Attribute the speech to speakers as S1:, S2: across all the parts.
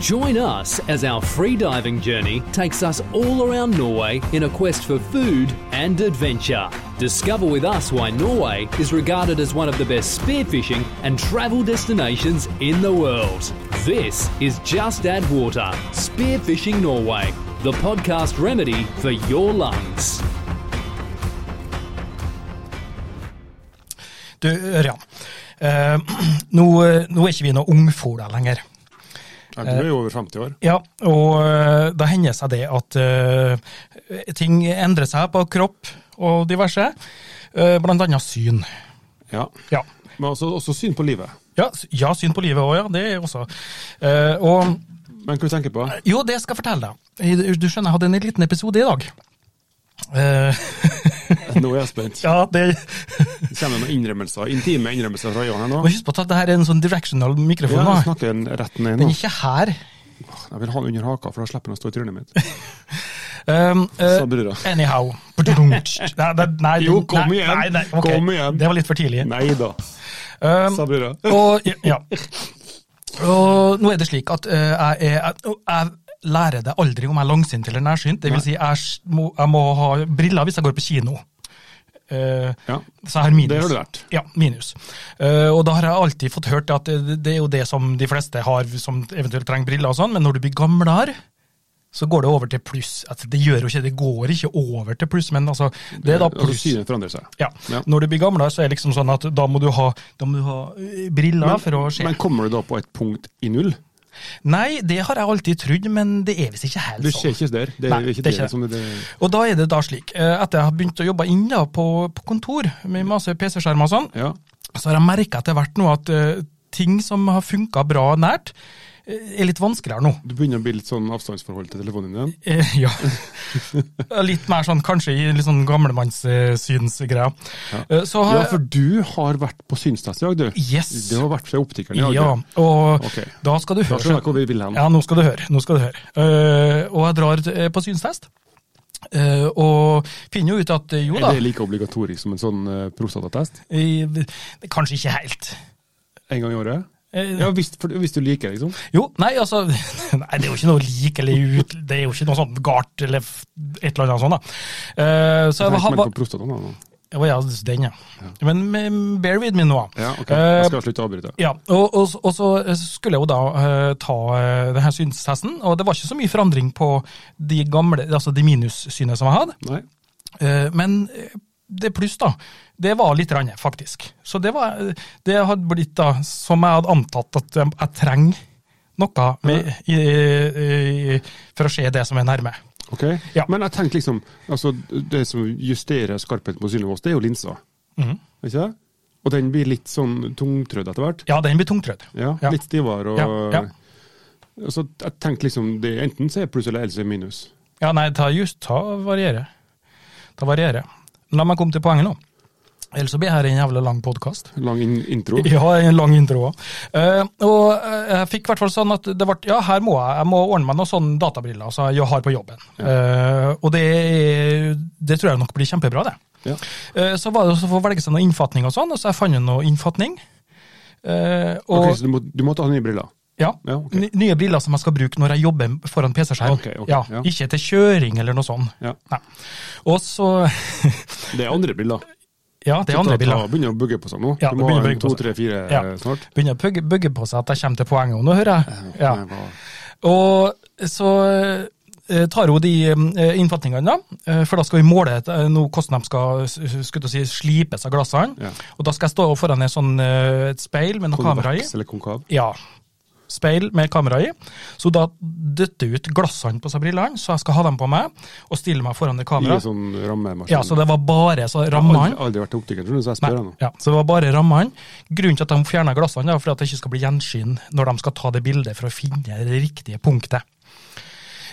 S1: Join us as our free diving journey takes us all around Norway in a quest for food and adventure. Discover with us why Norway is regarded as one of the best spearfishing and travel destinations in the world. This is Just Add Water Spearfishing Norway, the podcast remedy for your lungs.
S2: Du, Ørjan. eh, nå, eh, nå er ikke vi noe ungfola lenger.
S3: Ja, Du er
S2: Eh.
S3: jo over 50 år.
S2: Ja, og eh, da hender seg det at eh, ting endrer seg på kropp og diverse. eh, blant annet syn.
S3: Ja.
S2: Ja,
S3: Men også, også syn på livet.
S2: ja, s- ja syn på livet òg, ja. Det er også. Eh, og
S3: Men hva du tenker på?
S2: jo, det skal jeg fortelle deg. I- Du skjønner, jeg hadde en liten episode i dag. Eh,
S3: Nå er jeg spent.
S2: ja, det
S3: Det kommer med innrømmelser, intime innrømmelser fra Johan her nå.
S2: Og Husk på at det her er en sånn directional mikrofon.
S3: Ja, jeg
S2: da.
S3: snakker rett ned nå.
S2: Den er ikke her.
S3: Jeg vil ha den under haka, for da slipper den å stå i trynet
S2: Eh.
S3: mitt.
S2: Um, eh,
S3: Sa brura.
S2: Anyhow. Nei, nei, nei,
S3: Jo, kom
S2: nei,
S3: igjen.
S2: Nei, nei, ok.
S3: Kom igjen.
S2: Det var litt for tidlig.
S3: Nei da,
S2: Um,
S3: sa brura.
S2: og, ja. og nå er det slik at eh, jeg, er- jeg, jeg lærer det aldri om jeg er langsynt eller nærsynt. Det vil si, jeg s- må, jeg må ha briller hvis jeg går på kino. Eh,
S3: Ja.
S2: Så jeg har minus.
S3: Det har du lært.
S2: Ja, minus. Eh, og da har jeg alltid fått hørt at det, det er jo det som de fleste har som eventuelt trenger briller og sånn, men når du blir gamlere, så går det over til pluss. Altså, det gjør jo ikke, det går ikke over til pluss, men altså, det er da
S3: Altså,
S2: pluss.
S3: Synet forandrer seg.
S2: Ja.
S3: Ja.
S2: Når du blir gamlere, så er det liksom sånn at da må du ha, da må du ha eh, briller for å se.
S3: Men kommer du da på et punkt i null?
S2: Nei, det har jeg alltid trodd, men det er visst ikke helt
S3: Du ser ikke der. Det er
S2: Nei,
S3: ikke
S2: det er
S3: det,
S2: ikke det.
S3: som er det.
S2: Og da er det da slik, eh, etter jeg har begynt å jobbe inn da på, på kontor med masse PC-skjermer og sånn,
S3: Ja.
S2: så har jeg merka etter hvert nå at eh, ting som har funka bra nært, eh, er litt vanskeligere nå.
S3: Du begynner å bli litt sånn avstandsforhold til telefonen din igjen.
S2: Eh, ja. litt mer sånn kanskje i litt sånn gamlemannssynsgreia. Eh, så har
S3: Ja, for du har vært på synstest i dag, du.
S2: Yes.
S3: Du har vært fra optikeren i dag.
S2: Ja,
S3: du.
S2: og
S3: Ok.
S2: da skal du
S3: Da
S2: høre.
S3: skjønner jeg hvor vi vil hen.
S2: Ja, nå skal du høre. Nå skal du høre. Eh, og jeg drar eh, på synsfest, eh, og finner jo ut at eh, jo da
S3: Er det like obligatorisk som en sånn eh, prostatatest?
S2: eh, det- Kanskje ikke helt.
S3: En gang i året?
S2: Eh,
S3: Ja, hvis, for, hvis du liker, liksom.
S2: Jo, nei, altså Nei, det er jo ikke noe lik eller ut Det er jo ikke noe sånn gart eller f- et eller annet sånt, da. Eh, så jeg
S3: Jeg
S2: var,
S3: har ikke
S2: var,
S3: meldt på prostataen da, nå.
S2: var ja, den, ja. Men mm, bear with me nå.
S3: Ja, ok.
S2: Eh,
S3: Jeg skal slutte å avbryte.
S2: Ja, og, og, og så skulle jeg jo da eh, ta eh, denne synstesten, og det var ikke så mye forandring på de gamle, altså de minussynene som jeg hadde.
S3: Nei.
S2: Eh, Men eh, det pluss, da, det var litt rann, faktisk. Så det var eh, Det hadde blitt, da, som jeg hadde antatt at jeg, jeg trenger noe med, i, i, for å se det som er nærme.
S3: Ok?
S2: Ja.
S3: Men jeg tenkte liksom altså, Det som justerer skarpheten på synligvås, det er jo linsa. Ikke det? Og den blir litt sånn tungtrødd etter hvert.
S2: Ja, den blir tungtrødd.
S3: Ja,
S2: Ja.
S3: Litt stivere. Og,
S2: Ja, ja.
S3: Og Så jeg tenkte liksom det, Enten så er det pluss eller ellers er det minus.
S2: Ja, nei, ta just, ta variere. Ta variere. La meg komme til poenget nå. Ellers så blir det her en jævla lang podkast.
S3: Lang in intro.
S2: Ja, en lang intro òg. og eh, jeg fikk i hvert fall sånn at det ble Ja, her må jeg, jeg må ordne meg noen sånne databriller som jeg har på jobben. Eh, og det, er- det tror jeg nok blir kjempebra, det.
S3: Ja.
S2: Eh, så var det også for å velge seg noe innfatning og sånn, og så jeg fant jo noe innfatning. Eh, og
S3: Ok, så du, må, du måtte ha nye briller.
S2: ja,
S3: Ja, ok.
S2: ny- nye briller som jeg skal bruke når jeg jobber foran PC-skjerm.
S3: Ok, ok,
S2: ja,
S3: ja.
S2: Ikke til kjøring eller noe sånt.
S3: Ja.
S2: Nei. Og så
S3: Det er andre briller.
S2: Ja, det er andre
S3: Da
S2: briller.
S3: begynner å bugge på seg nå.
S2: Ja,
S3: du
S2: det begynner
S3: må
S2: å
S3: ha
S2: bugge
S3: en
S2: på
S3: to,
S2: seg.
S3: tre, fire
S2: Ja.
S3: eh, snart.
S2: Begynner å pugge- bugge på seg at jeg kommer til poenget nå, hører jeg. Ja.
S3: Nei, hva-
S2: Og så eh, tar hun de eh, innfatningene, da, eh, for da skal vi måle et, eh, nå hvordan de skal s- s- skulle til å si, slipes av glassene.
S3: Ja.
S2: Og da skal jeg stå foran en sånn, eh, et speil med noe kamera i.
S3: Konveks eller konkav.
S2: Ja, speil med kamera i. Så da døtter jeg ut glassene på seg brillene, så jeg skal ha dem på meg, og stille meg foran det
S3: I en
S2: kameraet.
S3: sånn rammemaskin.
S2: Ja, så det var bare så
S3: Jeg har aldri,
S2: rammene.
S3: aldri vært til optiker, tror du, så jeg
S2: Nei,
S3: spør deg nå.
S2: ja, så det var bare rammene. Grunnen til at de fjerna glassene, er for at det ikke skal bli gjenskinn når de skal ta det bildet for å finne det riktige punktet.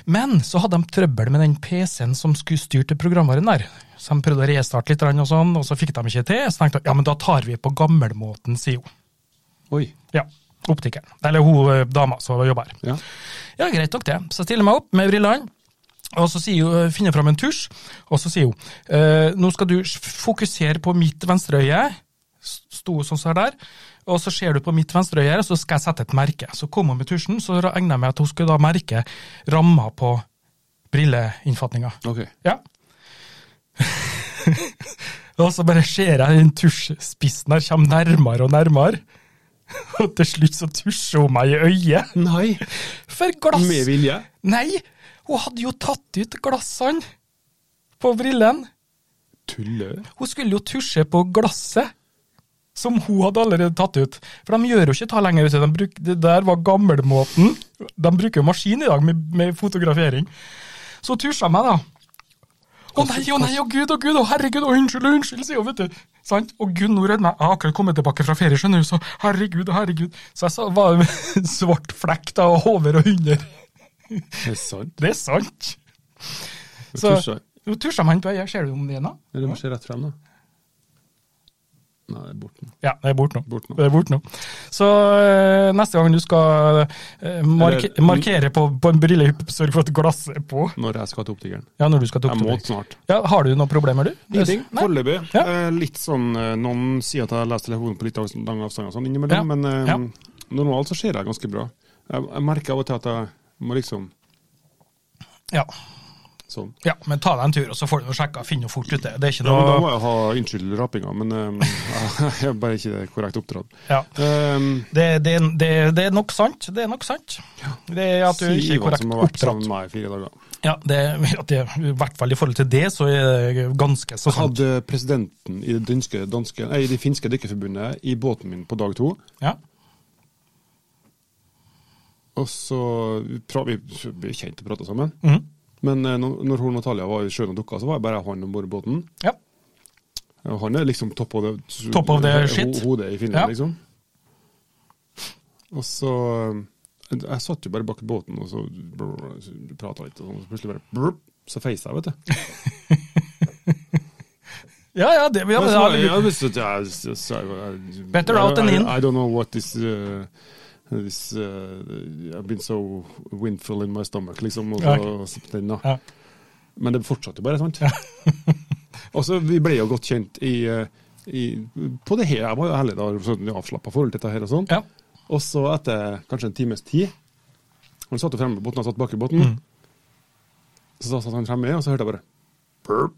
S2: Men så hadde de trøbbel med den PC-en som skulle styre til programvaren der. Så de prøvde å restarte litt, grann og sånn, og så fikk de ikke til. Så tenkte jeg ja, men da tar vi på gammelmåten, sier hun.
S3: Oi.
S2: Ja, optikeren. Eller hun eh, dama som jobber her.
S3: Ja.
S2: Ja, greit nok det. Så jeg stiller meg opp med brillene, og så sier hun, finner jeg fram en tusj, eh, og så sier hun eh, nå skal du s- fokusere på mitt venstre øye, s- sto sånn som her der, og så ser du på mitt venstre øye, her, så skal jeg sette et merke. Så kom hun med tusjen, så regna jeg med at hun skulle da merke ramma på brilleinnfatninga.
S3: Ok.
S2: Ja. og så bare ser jeg den tusjspissen her komme nærmere og nærmere. Og til slutt så tusjer hun meg i øyet.
S3: Nei!
S2: For glass!
S3: Med vilje.
S2: Nei! Hun hadde jo tatt ut glassene på brillen.
S3: Tuller.
S2: Hun skulle jo tusje på glasset som hun hadde allerede tatt ut. For de gjør jo ikke ta lenger ut. De bruk, det der var gammelmåten. De bruker jo maskin i dag med, med fotografering. Så hun tusja meg, da. Å nei, å nei, å gud, å gud, å herregud, å unnskyld, å unnskyld, sier hun, vet du. Sant? Og Gunn hun rødmer. Jeg har akkurat kommet tilbake fra ferie, skjønner du, så herregud, herregud. Så jeg sa, var en svart flekk da, over og under.
S3: Det er sant.
S2: Det er sant.
S3: Jeg
S2: Så
S3: tusjer.
S2: nå tusja man på øyet. Ser du om det igjen, da?
S3: Eller må se rett frem, da. Nei, det er borte nå.
S2: Ja, det er borte nå.
S3: Bort nå.
S2: Det er bort nå. Så eh, neste gang du skal eh, marke,
S3: Eller- mm.
S2: markere på, på en brille, sørg for at glasset er på.
S3: Når jeg skal til optikeren.
S2: Ja, når du skal til
S3: Jeg må
S2: optikeren.
S3: snart.
S2: Ja, har du noen problemer, du?
S3: Ingenting,
S2: Nei?
S3: foreløpig.
S2: Ja.
S3: Eh, litt sånn, eh, Noen sier at jeg leser telefonen på litt av- lange avstander og sånn innimellom,
S2: Ja.
S3: men eh,
S2: Ja.
S3: normalt så ser jeg ganske bra. Jeg, jeg merker av og til at jeg må liksom
S2: Ja.
S3: sånn.
S2: ja, men ta deg en tur, og så får du noe sjekka. Finn noe fort ut. det. Det er ikke
S3: Ja, men da må
S2: noe
S3: jeg ha Unnskyld rapinga, men eh, jeg er bare ikke korrekt oppdratt.
S2: ja.
S3: Um,
S2: det, det, det, det er nok sant. Det er nok sant. Det er at du ikke
S3: si
S2: er
S3: Ivan
S2: korrekt
S3: som har vært
S2: oppdratt.
S3: sammen med meg i fire dager.
S2: Ja, det, at det, I hvert fall i forhold til det, så er det ganske så sant.
S3: Hadde presidenten i det, dynske, danske, nei, i det finske dykkerforbundet i båten min på dag to,
S2: Ja.
S3: og så pra, Vi ble kjent og prata sammen.
S2: Mhm.
S3: Men eh, når, når hun Natalia var i sjøen og dukka, så var jeg bare han om bord i båten.
S2: ja.
S3: Ja, Han er liksom top of the,
S2: Top of the
S3: ho-
S2: shit.
S3: hodet i Finland,
S2: Ja.
S3: liksom. Og så eh, Jeg satt jo bare bak i båten og så prata litt, og sånn, så plutselig bare brr, Så feis jeg, vet du.
S2: Ja, ja, det, ja,
S3: Men
S2: det,
S3: så var jeg-
S2: ja,
S3: jeg visste at jeg- så- så jeg- jeg-
S2: Better out than
S3: I-
S2: in.
S3: I don't know what this uh, This, uh, I've been so windful in my stomach, liksom. Og så,
S2: Ja,
S3: og så den, da.
S2: Ja.
S3: Men det fortsatte jo bare, sant? og så vi ble jo godt kjent i, eh, i På det her, jeg var jo ærlig da, sånn avslappa forhold til dette her og sånn.
S2: ja.
S3: Og så etter kanskje en times tid Han satt jo fremme på båten, han satt bak i båten.
S2: Mm.
S3: Så da satt han fremme, og så hørte jeg bare Burp.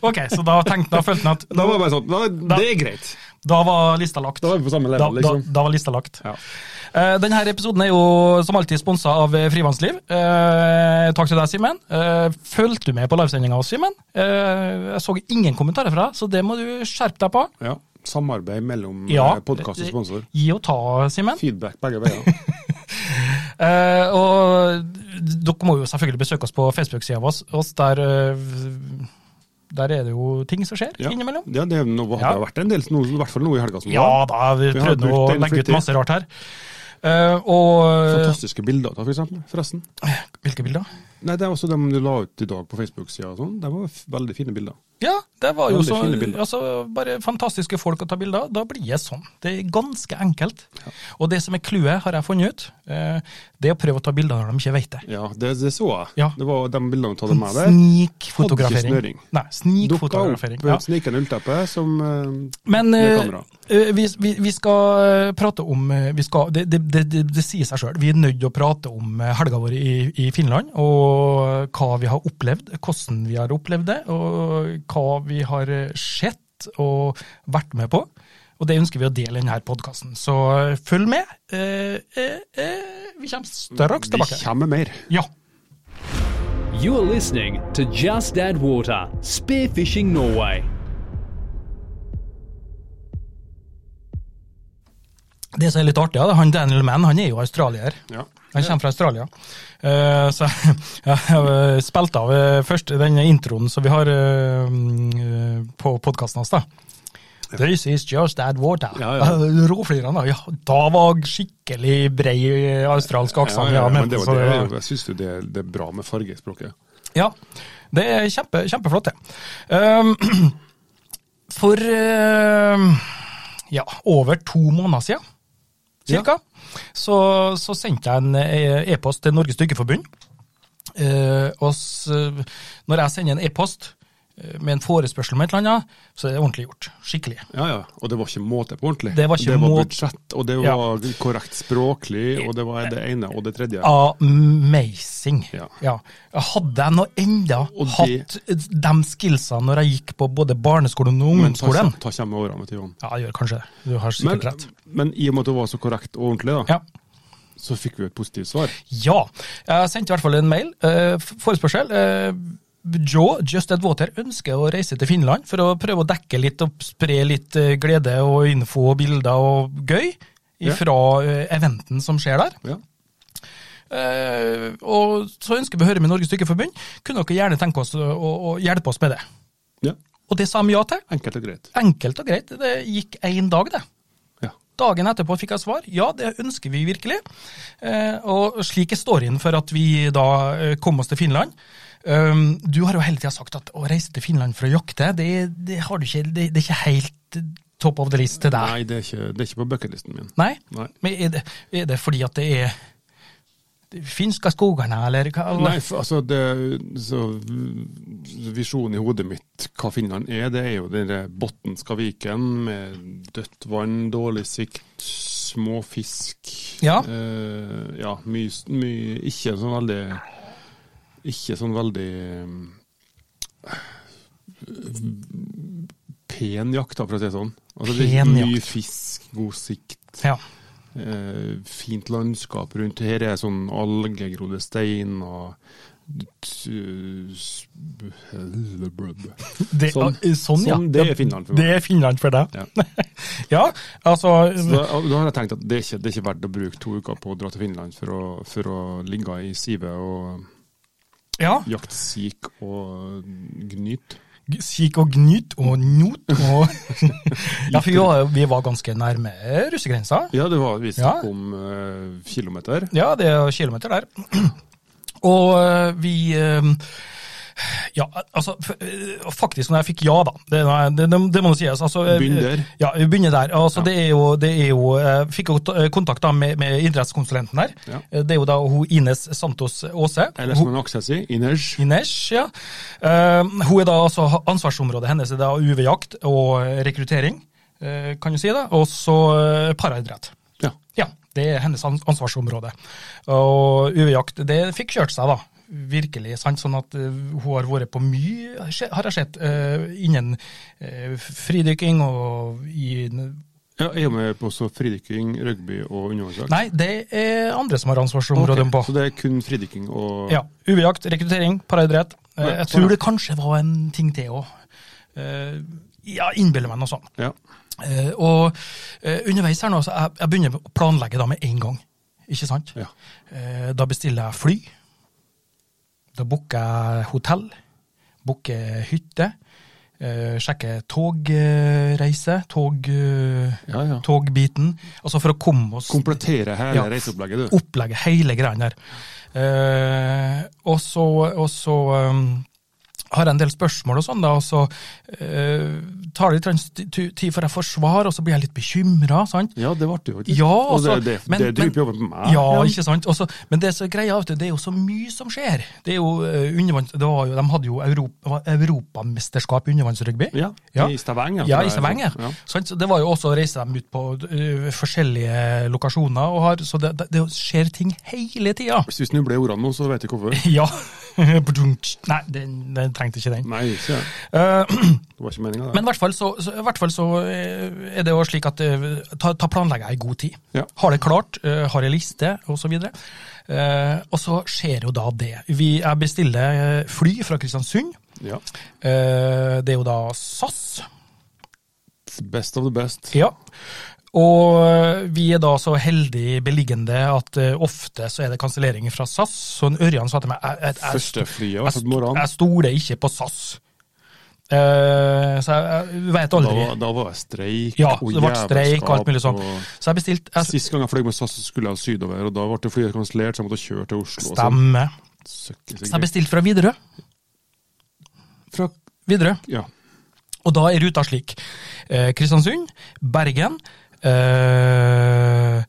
S2: Ok, så da tenkte da følte han at
S3: Da var det bare sånn da,
S2: Da-
S3: Det er greit.
S2: Da var lista lagt.
S3: Da var vi på samme level,
S2: Da- da,
S3: liksom.
S2: da var lista lagt.
S3: Ja.
S2: Eh, denne her episoden er jo som alltid sponsa av eh, Frivannsliv. Eh, takk til deg, Simen. Eh, fulgte du med på livesendinga også, Simen? Eh, jeg så ingen kommentarer fra deg, så det må du skjerpe deg på.
S3: ja. Samarbeid mellom
S2: Ja.
S3: podkast og sponsor.
S2: Gi og ta, Simen.
S3: Feedback begge veier.
S2: Eh, og dere må jo selvfølgelig besøke oss på Facebook-sida vår. oss Der, eh, der er det jo ting som skjer
S3: Ja,
S2: innimellom.
S3: ja det, er nå, det har vært en del, nå, i hvert fall nå i helga som
S2: Ja da, vi
S3: Vi har
S2: prøvde å
S3: brukt den
S2: legge ut
S3: flittig.
S2: masse rart her. Eh, og eh,
S3: Fantastiske bilder, da, for eksempel, forresten.
S2: Hvilke bilder?
S3: Nei, Det er også dem du la ut i dag på Facebook-sida. og sånn. Det var f- veldig fine bilder.
S2: Ja, det var jo
S3: Veldig
S2: så,
S3: fine bilder.
S2: altså, bare fantastiske folk å ta bilder av. Da blir det sånn. Det er ganske enkelt. Og det som er clouet, har jeg funnet ut, eh, det er å prøve å ta bilder når de ikke vet det.
S3: Ja, Det, det så jeg.
S2: Ja.
S3: Det var de bildene du tok med deg.
S2: Snikfotografering.
S3: snøring.
S2: Nei,
S3: Dukka opp
S2: snikfotografering.
S3: ja.
S2: Ja.
S3: snikende ullteppe som eh,
S2: Men
S3: Med
S2: eh,
S3: kamera.
S2: eh, vi, vi, vi skal eh, prate om eh, vi skal, det, det, det, det, det sier seg sjøl. Vi er nødt til å prate om eh, helga vår i, i Finland, og hva vi har opplevd, hvordan vi har opplevd det, og hva vi har eh, sett og vært med på. Og det ønsker vi å dele i denne podkasten, så eh, følg med. Eh, eh, eh, vi kommer straks
S3: Vi
S2: tilbake.
S3: kommer mer.
S2: Ja.
S1: You're listening to Just Add Water Spearfishing Norway.
S2: Det som er litt artig, ja, det er han Daniel Mann, han er jo australier.
S3: Ja.
S2: Han kommer fra Australia. Eh, så jeg har spilt av eh, først den introen som vi har eh, mm, eh, på podkasten hans. da. This is just that water.
S3: Ja, ja.
S2: Eh, Råflirene, da. Ja, da var skikkelig brei eh, australsk aksent.
S3: ja,
S2: jeg
S3: men
S2: mente,
S3: det var
S2: så
S3: det,
S2: var-
S3: Jeg syns jo det, det er bra med fargespråket.
S2: ja, det er kjempe, kjempeflott, det. Ehm, for ehm, ja, over to måneder siden, cirka, så, så sendte jeg en eh, e-post til Norges Dykkerforbund. Eh, og s, når jeg sender en e-post eh, med en forespørsel om et eller annet, så er det ordentlig gjort. Skikkelig.
S3: Ja, ja. Og det var ikke måte på ordentlig.
S2: Det var ikke måte-
S3: budsjett, og det
S2: Ja.
S3: var korrekt språklig, og det var det ene og det tredje.
S2: Amazing.
S3: Ja.
S2: Hadde jeg nå enda
S3: Og
S2: hatt eh, de skillsene når jeg gikk på både barneskolen og
S3: Men ta,
S2: ungdomsskolen?
S3: ta kjem med årene til Johan.
S2: Ja, jeg gjør kanskje det. Du har
S3: Men,
S2: sikkert rett.
S3: men i og med at det var så korrekt og ordentlig, da,
S2: Ja.
S3: så fikk vi et positivt svar.
S2: Ja. Jeg sendte i hvert fall en mail. eh, f- forespørsel. Eh, Joe, Just Ed Water, ønsker å reise til Finland for å prøve å dekke litt og spre litt eh, glede og info og bilder og gøy
S3: Ja.
S2: fra eventen som skjer der.
S3: Ja.
S2: Eh, og så ønsker vi å høre med Norges Stykkeforbund. Kunne dere gjerne tenke oss å, å, å hjelpe oss med det?
S3: ja.
S2: Og det sa de ja til.
S3: Enkelt og greit.
S2: Enkelt og greit. Det gikk én dag, det.
S3: Ja.
S2: Dagen etterpå fikk jeg svar. Ja, det ønsker vi virkelig. Eh, og slik er storyen for at vi da eh, kom oss til Finland. Um, du har jo hele tida sagt at å reise til Finland for å jakte, det, det, har du ikke, det, det er ikke helt top of the list til deg.
S3: Nei, det er ikke, det er ikke på bucketlisten min.
S2: Ah. Nei?
S3: Nei.
S2: Men er det, er det fordi at det er de finske skogene, eller hva?
S3: Nei, for, altså det, så, Visjonen i hodet mitt hva Finland er, det er jo den der Bottenska viken med dødt vann, dårlig sikt, små fisk.
S2: Ja.
S3: Eh, ja, mye, s- mye Ikke sånn veldig Ikke sånn veldig eh, Pen jakt, da, for å si det sånn. Altså, det er
S2: Pen
S3: mye
S2: jakt.
S3: fisk, god sikt.
S2: Ja.
S3: Eh, fint landskap rundt. Her er sånn algegrodde stein og Sånn,
S2: Det, sånn, sånn, ja.
S3: det er Finland for
S2: Det
S3: meg.
S2: er Finland for deg.
S3: Ja.
S2: Ja, altså
S3: Så Da, da har jeg tenkt at det er, ikke, det er ikke verdt å bruke to uker på å dra til Finland for å, for å ligge i sivet og
S2: Ja.
S3: jakte sik og gnyt.
S2: G- Kikk og gnyt og njot og Ja, for vi var, vi var ganske nærme russegrensa.
S3: Ja, det var vi snakket
S2: Ja.
S3: om eh, kilometer.
S2: Ja, det er kilometer der. Og øh, vi øh, Ja, altså f- øh, Faktisk, når jeg fikk ja, da. Det, det, det, det må jo sies. Altså, øh,
S3: Begynn der.
S2: Ja, vi begynner der. Altså,
S3: Ja.
S2: det er jo, det er jo Jeg fikk jo ta- kontakt da med, med idrettskonsulenten der. Eh,
S3: Ja.
S2: Det er jo da hun Ines Santos Aase.
S3: Eller som en aksel sier, inners.
S2: Ines, ja. Eh, hun er da altså Ansvarsområdet hennes er da UV-jakt og rekruttering, eh, kan du si det. Og så eh, paraidrett.
S3: Ja.
S2: Ja, det er hennes ans- ansvarsområde. Og UV-jakt, det fikk kjørt seg, da. Virkelig, sant? Sånn at eh, hun har vært på mye, skje- har jeg sett, eh, innen eh, fridykking og i
S3: ja. Jeg er med på så fridykking, rugby og undervannsjakt.
S2: Nei, det er andre som har ansvarsområdet
S3: Ok,
S2: på.
S3: Så det er kun fridykking og
S2: Ja. UV-jakt, rekruttering, paraidrett. Eh, Jeg
S3: Ja, sånn, ja.
S2: tror det kanskje var en ting til òg. Ja, innbiller meg noe sånt.
S3: Ja.
S2: Eh, Og eh, underveis her nå, så jeg, jeg begynner å planlegge da med en gang. Ikke sant?
S3: Ja.
S2: Eh, Da bestiller jeg fly. Da booker jeg hotell. Booker hytte. eh, Sjekker togreise. Tog, eh,
S3: Ja, ja.
S2: Togbiten. Altså for å komme oss
S3: Komplettere hele
S2: Ja.
S3: reiseopplegget, du.
S2: opplegget, hele greia der. Eh, og så, og så um, har jeg en del spørsmål og sånn, da, og så eh, tar det litt grann sti- tu- tid før jeg får svar, og så blir jeg litt bekymra, sant.
S3: Ja, det ble det jo. ikke?
S2: Ja,
S3: og det,
S2: altså,
S3: det,
S2: men-
S3: det
S2: men-
S3: dryper jo over på Ah, meg.
S2: Ja, ikke sant. Og så- men det som er greia, vet du, det er jo så mye som skjer. Det er jo eh, undervanns... Det var jo, de hadde jo Europa, europamesterskap i undervannsrugby.
S3: Ja, i Stavanger.
S2: Ja, i Stavanger.
S3: Ja.
S2: Sant? Så Det var jo også å reise dem ut på eh, forskjellige lokasjoner, og har, så det, det, det skjer ting hele tida.
S3: Hvis du snubler i ordene nå, så vet jeg hvorfor.
S2: Ja. Badunk. Nei, den, den trengte ikke den.
S3: Nei, ikke.
S2: Eh,
S3: det var ikke meninga.
S2: men i hvert fall så, så, i hvert fall så eh, er det jo slik at eh, ta, ta planlegger jeg i god tid.
S3: Ja.
S2: Har det klart, eh, har en liste osv. Eh, Og så skjer jo da det. Vi, jeg bestiller eh, fly fra Kristiansund.
S3: Ja.
S2: Eh, Det er jo da SAS.
S3: Best of the best.
S2: Ja. Og eh, vi er da så heldig beliggende at eh, ofte så er det kansellering fra SAS. Så en Ørjan sa til meg jeg, jeg, jeg,
S3: Første flyet var
S2: jeg,
S3: satt
S2: sto-
S3: morgenen.
S2: jeg stoler ikke på SAS. Eh, så jeg, jeg vet
S3: Da,
S2: aldri.
S3: var- da var det streik
S2: ja, så det ble
S3: jævelskap
S2: streik og alt mulig sånn.
S3: og-
S2: Så jeg bestilte jeg,
S3: Sist gang jeg fløy med SAS, så skulle jeg sydover, og da ble det flyet kansellert, så jeg måtte kjøre til Oslo. og sånn.
S2: Stemme.
S3: Søkke
S2: Så jeg
S3: seg
S2: bestilte fra Widerøe.
S3: Fra,
S2: Widerøe.
S3: ja.
S2: Og da er ruta slik. Eh, Kristiansund, Bergen eh,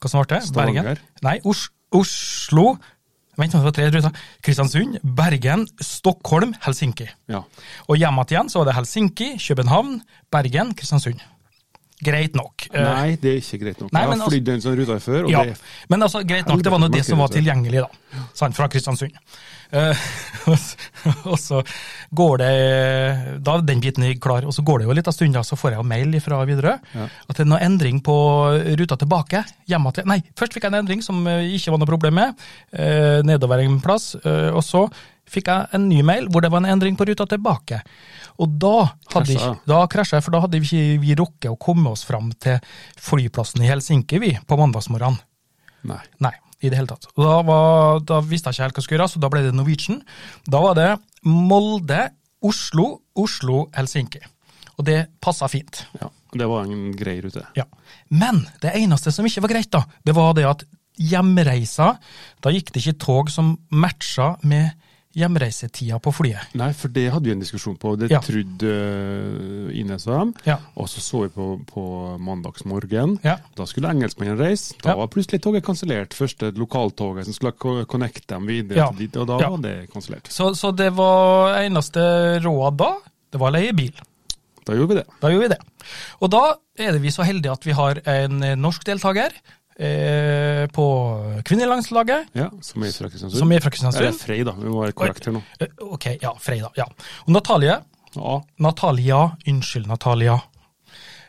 S2: Hva som ble det?
S3: Stavanger.
S2: Bergen. Nei, Os Oslo, vent, det var tre ruter. Kristiansund, Bergen, Stockholm, Helsinki.
S3: Ja.
S2: Og hjem igjen så var det Helsinki, København, Bergen, Kristiansund. Greit nok. Eh,
S3: Nei, det er ikke greit nok.
S2: Nei,
S3: jeg
S2: men
S3: har
S2: altså-
S3: flydd den sånn ruta før, og
S2: ja,
S3: det er
S2: men altså, greit nok, det var nå det som var tilgjengelig, da. Sant, fra Kristiansund. Eh, og s- og så går det Da er den biten er klar, og så går det jo litt av stund, da, så får jeg jo mail fra Widerøe at det er noe endring på ruta tilbake. hjemme til, Nei, først fikk jeg en endring som eh, ikke var noe problem med, eh, nedover en plass, eh, og så fikk jeg en ny mail hvor det var en endring på ruta tilbake. Og da hadde
S3: Krasja,
S2: ikke,
S3: ja.
S2: da krasja jeg, for da hadde vi ikke vi rukket å komme oss fram til flyplassen i Helsinki vi, på mandagsmorgenen.
S3: Nei.
S2: Nei, i det hele tatt. Og da, var, da visste jeg ikke helt hva jeg skulle gjøre, så da ble det Norwegian. Da var det Molde, Oslo, Oslo, Helsinki. Og det passa fint.
S3: Ja, det var en grei rute.
S2: Ja. Men det eneste som ikke var greit, da, det var det at hjemreisa Da gikk det ikke tog som matcha med hjemreisetida på flyet.
S3: Nei, for det hadde vi en diskusjon på. Det
S2: Ja.
S3: trodde eh, Ines og dem.
S2: Ja.
S3: Og så så vi på, på mandagsmorgen.
S2: Ja.
S3: Da skulle engelskmennene reise. Da
S2: Ja.
S3: var plutselig toget kansellert. Første lokaltoget som skulle ko- connecte dem videre
S2: Ja.
S3: til dit, og da
S2: Ja.
S3: var det kansellert.
S2: Så, så det var eneste råd da, det var å leie bil.
S3: Da gjorde vi det.
S2: Da gjør vi det. Og da er det vi så heldige at vi har en eh, norsk deltaker eh, på kvinnelandslaget.
S3: Ja, Som er fra Kristiansund.
S2: Som er fra Kristiansund.
S3: Eller Frei, da. Vi må være korrekt her nå.
S2: Eh, Ok, ja, Freida. Ja. Og Natalie.
S3: Ja.
S2: Natalia, unnskyld, Natalia.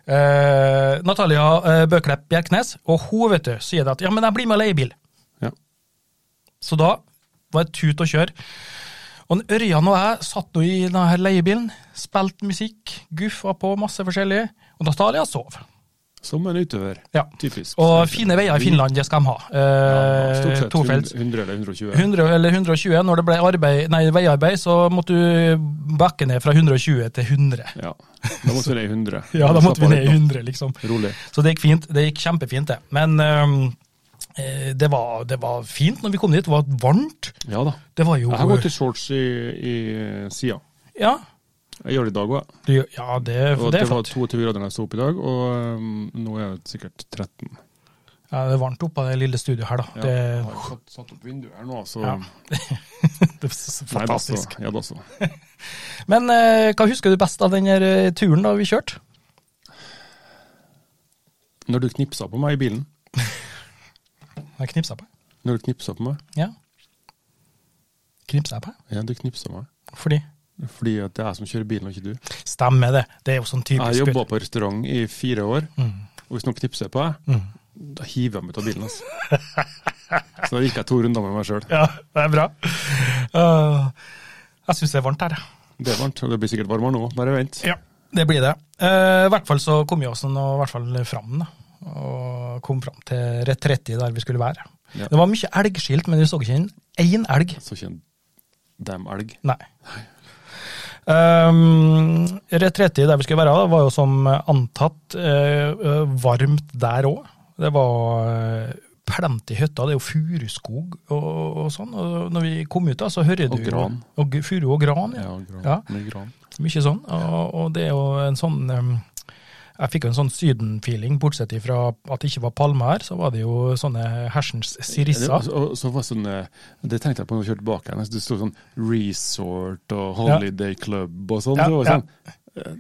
S2: Eh, Natalia eh, Bøklepp Bjerknes, og hun vet du, sier det at ja, men jeg blir med og leier bil.
S3: ja.
S2: Så da var det tut og kjør. Og en Ørjan og jeg satt nå i denne her leiebilen, spilte musikk, guffa på masse forskjellig, og Natalia sov.
S3: Som en utøver.
S2: Ja.
S3: Typisk.
S2: Og fine veier i Finland, det skal de ha.
S3: Ja, stort
S2: Eh,
S3: sett.
S2: Tofelts.
S3: 100 eller 120.
S2: 100 eller 120, når det ble arbeid, nei, veiarbeid, så måtte du bakke ned fra 120 til 100.
S3: Ja. Da måtte vi ned i 100.
S2: Ja, da måtte vi
S3: Slapp av
S2: ned i
S3: litt
S2: 100, liksom.
S3: nå. Rolig.
S2: Så det gikk fint. Det gikk kjempefint, det. Men øhm, eh, det, var, det var fint når vi kom dit. Det var varmt.
S3: Ja da.
S2: Det var jo
S3: Jeg har gått i shorts i, i sida.
S2: Ja,
S3: Jeg gjør det i dag òg.
S2: du, ja det, det
S3: Og det
S2: er
S3: var
S2: flott.
S3: 22 grader da jeg sto opp i dag, og um, nå er det sikkert 13.
S2: Ja, det er varmt oppe av det lille studioet her, da.
S3: Ja. Jeg
S2: Det,
S3: har satt, satt opp vinduet her nå, så
S2: Ja. det er så
S3: Nei, da så.
S2: fantastisk.
S3: Ja, da så.
S2: Men eh, hva husker du best av den her, eh, turen da vi kjørte?
S3: Når du knipsa på meg i bilen
S2: Jeg knipsa på.
S3: Når du knipsa på meg
S2: Ja. Knipsa jeg på?
S3: Ja, du knipsa meg.
S2: Fordi
S3: Fordi at det er jeg som kjører bilen, og ikke du.
S2: Stemmer det. Det er jo sånn
S3: Jeg har
S2: typisk.
S3: jobba på restaurant i fire år,
S2: Mm.
S3: og hvis noen knipser på meg, da hiver jeg meg ut av bilen. Altså. så da gikk jeg to runder med meg sjøl.
S2: Ja, det er bra. Øh, jeg syns det er varmt her, jeg.
S3: Det er varmt, og det blir sikkert varmere nå. Bare vent.
S2: Ja, det blir det. Eh, I hvert fall så kom vi oss nå i hvert fall fram, da. Og kom fram til rett 30 der vi skulle være.
S3: Ja.
S2: Det var mye elgskilt, men vi så ikke en én elg.
S3: Så ikke en dam elg.
S2: Nei. Um, rett 30 der vi skulle være, da, var jo som antatt eh, eh, varmt der òg. Det var eh, plenty hytter, det er jo furuskog og, og sånn. Og når vi kom ut, da, så hører du
S3: Og gran.
S2: Og, gu- furu og gran, ja.
S3: Ja, gran.
S2: Ja.
S3: Med gran.
S2: Mye sånn. Og, og det er jo en sånn um, Jeg fikk jo en sånn Syden-feeling, bortsett fra at det ikke var palmer her, så var det jo sånne hersens sirisser.
S3: Det, og, så var det sånn, eh, det tenkte jeg på når jeg kjørte bak her. Det sto sånn resort og holiday club og sånn.
S2: Ja,
S3: så var det
S2: ja.
S3: sånn eh,